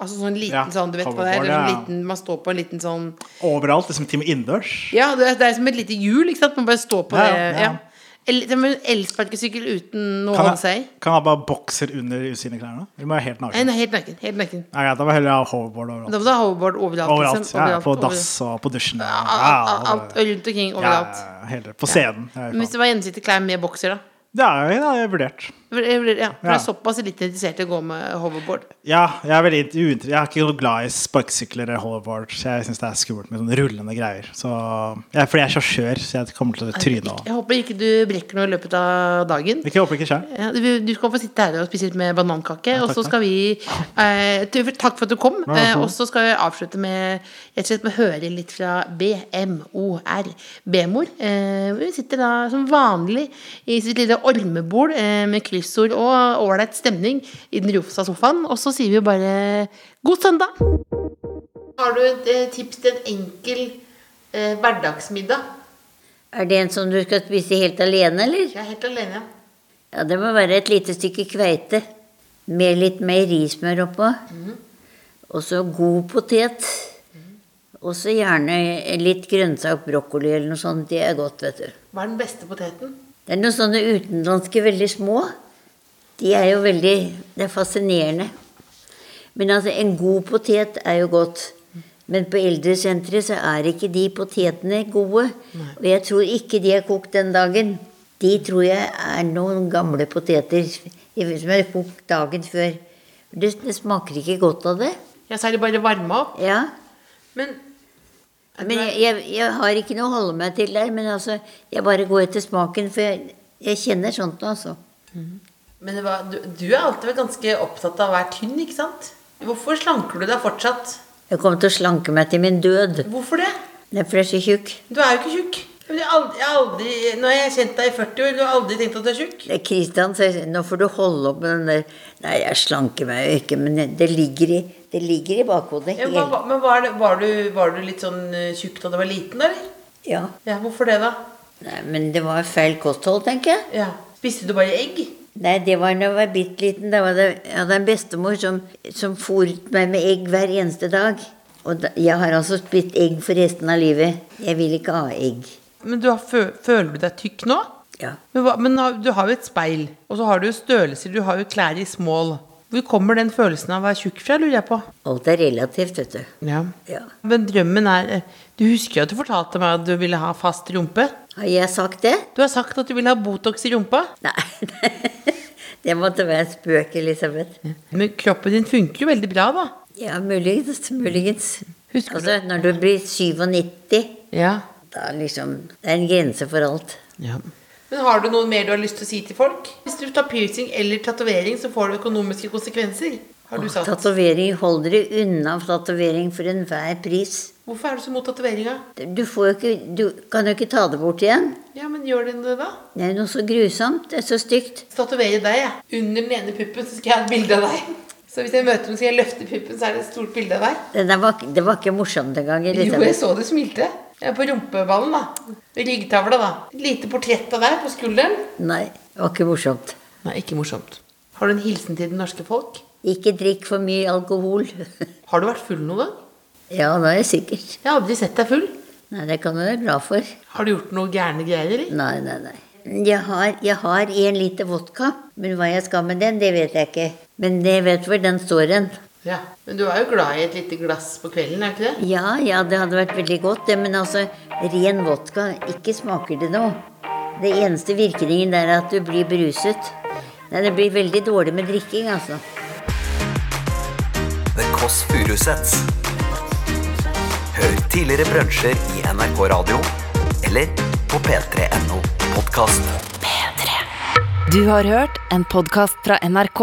S3: Altså sånn liten
S4: Ja,
S3: sånn, du vet hva det er?
S4: hoverboard,
S3: Eller sånn
S4: ja.
S3: liten, man står på en liten sånn
S4: Overalt, liksom til og med innendørs.
S3: Ja, det er, det er som et lite hjul, ikke sant? Man bare står på
S4: Ja,
S3: det.
S4: ja,
S3: Ja.
S4: ja.
S3: Eller- det er med en elsparkesykkel uten noe å
S4: Kan
S3: holde seg i.
S4: jeg, kan jeg bare bokser under usynlige Vi må være helt
S3: Nei,
S4: naken.
S3: nei, helt naken. Helt naken.
S4: Nei, ja, da må jeg heller ha hoverboard overalt.
S3: Da må du ha hoverboard overalt.
S4: Overalt,
S3: liksom.
S4: ja,
S3: Overalt,
S4: På
S3: overalt.
S4: dass og på dusjen. Ja,
S3: Al-
S4: ja,
S3: al- Alt
S4: ja,
S3: rundt omkring,
S4: ja,
S3: overalt.
S4: ja, hele- På scenen. Ja,
S3: Men hvis
S4: faen.
S3: det var gjensidig klær med bokser, da?
S4: Det er det har jeg vurdert.
S3: For jeg blir- Ja, for jeg er
S4: Ja.
S3: såpass litt interessert i å gå med hoverboard.
S4: Ja, jeg er veldig uinter... Jeg er ikke noe glad i sparkesykler eller hoverboard. så Jeg syns det er skummelt med sånne rullende greier. Så, ja, fordi jeg er sjåfør, så jeg kommer til å tryne og
S3: Jeg håper ikke du brekker noe i løpet av dagen.
S4: Ikke håper ikke skjer.
S3: Ja, du, du skal få sitte her og spise litt med banankake, og
S4: takk,
S3: så
S4: takk.
S3: skal vi eh, tu- Takk for at du kom.
S4: vær så
S3: Eh,
S4: god.
S3: og så skal jeg avslutte med rett og slett med å høre litt fra BMOR. B-mor. Eh, hun sitter da som vanlig i sitt lille ormebol eh, med kryssord og ålreit stemning i den rosa sofaen, og så sier vi jo bare god søndag! Har du et eh, tips til en enkel eh, hverdagsmiddag?
S5: Er det en som du skal spise helt alene, eller?
S3: Jeg er helt alene.
S5: Ja, det må være et lite stykke kveite med litt meierismør oppå. Og så god potet. Og så gjerne litt grønnsak, brokkoli eller noe sånt. Det er godt, vet du.
S3: Hva er den beste poteten?
S5: Det er noen sånne utenlandske veldig små. De er jo veldig Det er fascinerende. Men altså, en god potet er jo godt. Men på eldresenteret så er ikke de potetene gode. Og jeg tror ikke de er kokt den dagen. De tror jeg er noen gamle poteter som er kokt dagen før. Det, det smaker ikke godt av det.
S3: Ja, så er det bare å varme opp.
S5: Ja.
S3: Men
S5: Men jeg, jeg, jeg har ikke noe å holde meg til der. Men altså, jeg bare går etter smaken, for jeg, jeg kjenner sånt nå, altså.
S3: Men det var, du, du har alltid vært ganske opptatt av å være tynn, ikke sant? Hvorfor slanker du deg fortsatt?
S5: Jeg kommer til å slanke meg til min død.
S3: Hvorfor det?
S5: Det er fordi jeg er så tjukk.
S3: Du er jo ikke tjukk. Men Jeg har aldri, jeg har aldri, når jeg har kjent deg i 40 år, du har aldri tenkt at du er tjukk.
S5: Det er Kristian sier nå får du holde opp med den der Nei, jeg slanker meg jo ikke, men det- det ligger i, det ligger i bakhodet.
S3: Ja, men
S5: Helt.
S3: hva- men var, det, var, du, var du litt sånn eh, tjukk da du var liten, eller?
S5: Ja.
S3: Ja, hvorfor det, da?
S5: Nei, men det var feil kosthold, tenker jeg.
S3: Ja. Spiste du bare egg?
S5: Nei, det var da jeg var bitte liten. Da var det, jeg hadde en bestemor som, som fôret meg med egg hver eneste dag. Og da, jeg har altså spist egg for resten av livet. Jeg vil ikke ha egg.
S3: Men du har, fø- føler du deg tykk nå?
S5: Ja.
S3: Men, hva, men har- du har jo et speil, og så har du jo størrelser, du har jo klær i smål. Hvor kommer den følelsen av å være tjukk fra, lurer jeg på?
S5: Alt er relativt, vet du.
S3: Ja.
S5: Ja.
S3: Men drømmen er Du husker jo at du fortalte meg at du ville ha fast rumpe?
S5: Har jeg sagt det?
S3: Du har sagt at du ville ha Botox i rumpa.
S5: Nei. [LAUGHS] det måtte være en spøk, Elisabeth.
S3: Men kroppen din funker jo veldig bra, da.
S5: Ja, muligens. muligens.
S3: Husker
S5: altså, Når du blir 97,
S3: Ja.
S5: da liksom Det er en grense for alt.
S3: Men har du noe mer du har lyst til å si til folk? Hvis du tar piercing eller tatovering, så får det økonomiske konsekvenser. Har du sagt.
S5: Tatovering holder deg unna tatovering for enhver pris.
S3: Hvorfor er du så mot tatoveringa?
S5: Du, får jo ikke, du kan jo ikke ta det bort igjen.
S3: Ja, men gjør den det, da?
S5: Det er jo noe så grusomt. Det er så stygt.
S3: Tatovere deg, jeg. Under den ene puppen så skal jeg ha et bilde av deg. Så hvis jeg møter noen, skal jeg løfte puppen, så er det et stort bilde av deg.
S5: Det, der var, ikke- det var ikke morsomt engang.
S3: Jo, jeg
S5: Elisabeth.
S3: så du smilte. Ja, på rumpeballen, da. Ryggtavla, da. Et lite portrett av deg på skulderen.
S5: Nei, det var ikke morsomt.
S3: Nei, ikke morsomt. Har du en hilsen til det norske folk?
S5: Ikke drikk for mye alkohol. [LAUGHS]
S3: Har du vært full noen gang?
S5: ja, det er jeg sikkert.
S3: Jeg har aldri sett deg full.
S5: Nei, det kan du være bra for.
S3: Har du gjort noe gærne greier, eller?
S5: Nei, nei, nei. Jeg har, jeg har en liter vodka, men hva jeg skal med den, det vet jeg ikke. Men jeg vet hvor den står hen.
S3: Ja. Men du er jo glad i et lite glass på kvelden, er du ikke det?
S5: Ja, ja, det hadde vært veldig godt, det, men altså, ren vodka, ikke smaker det noe. Det eneste virkningen der er at du blir beruset. Nei, det blir veldig dårlig med drikking, altså.
S2: The Kåss Furuseths. Hør tidligere brunsjer i NRK Radio eller på p3.no podkast.
S1: Du har hørt en podkast fra NRK.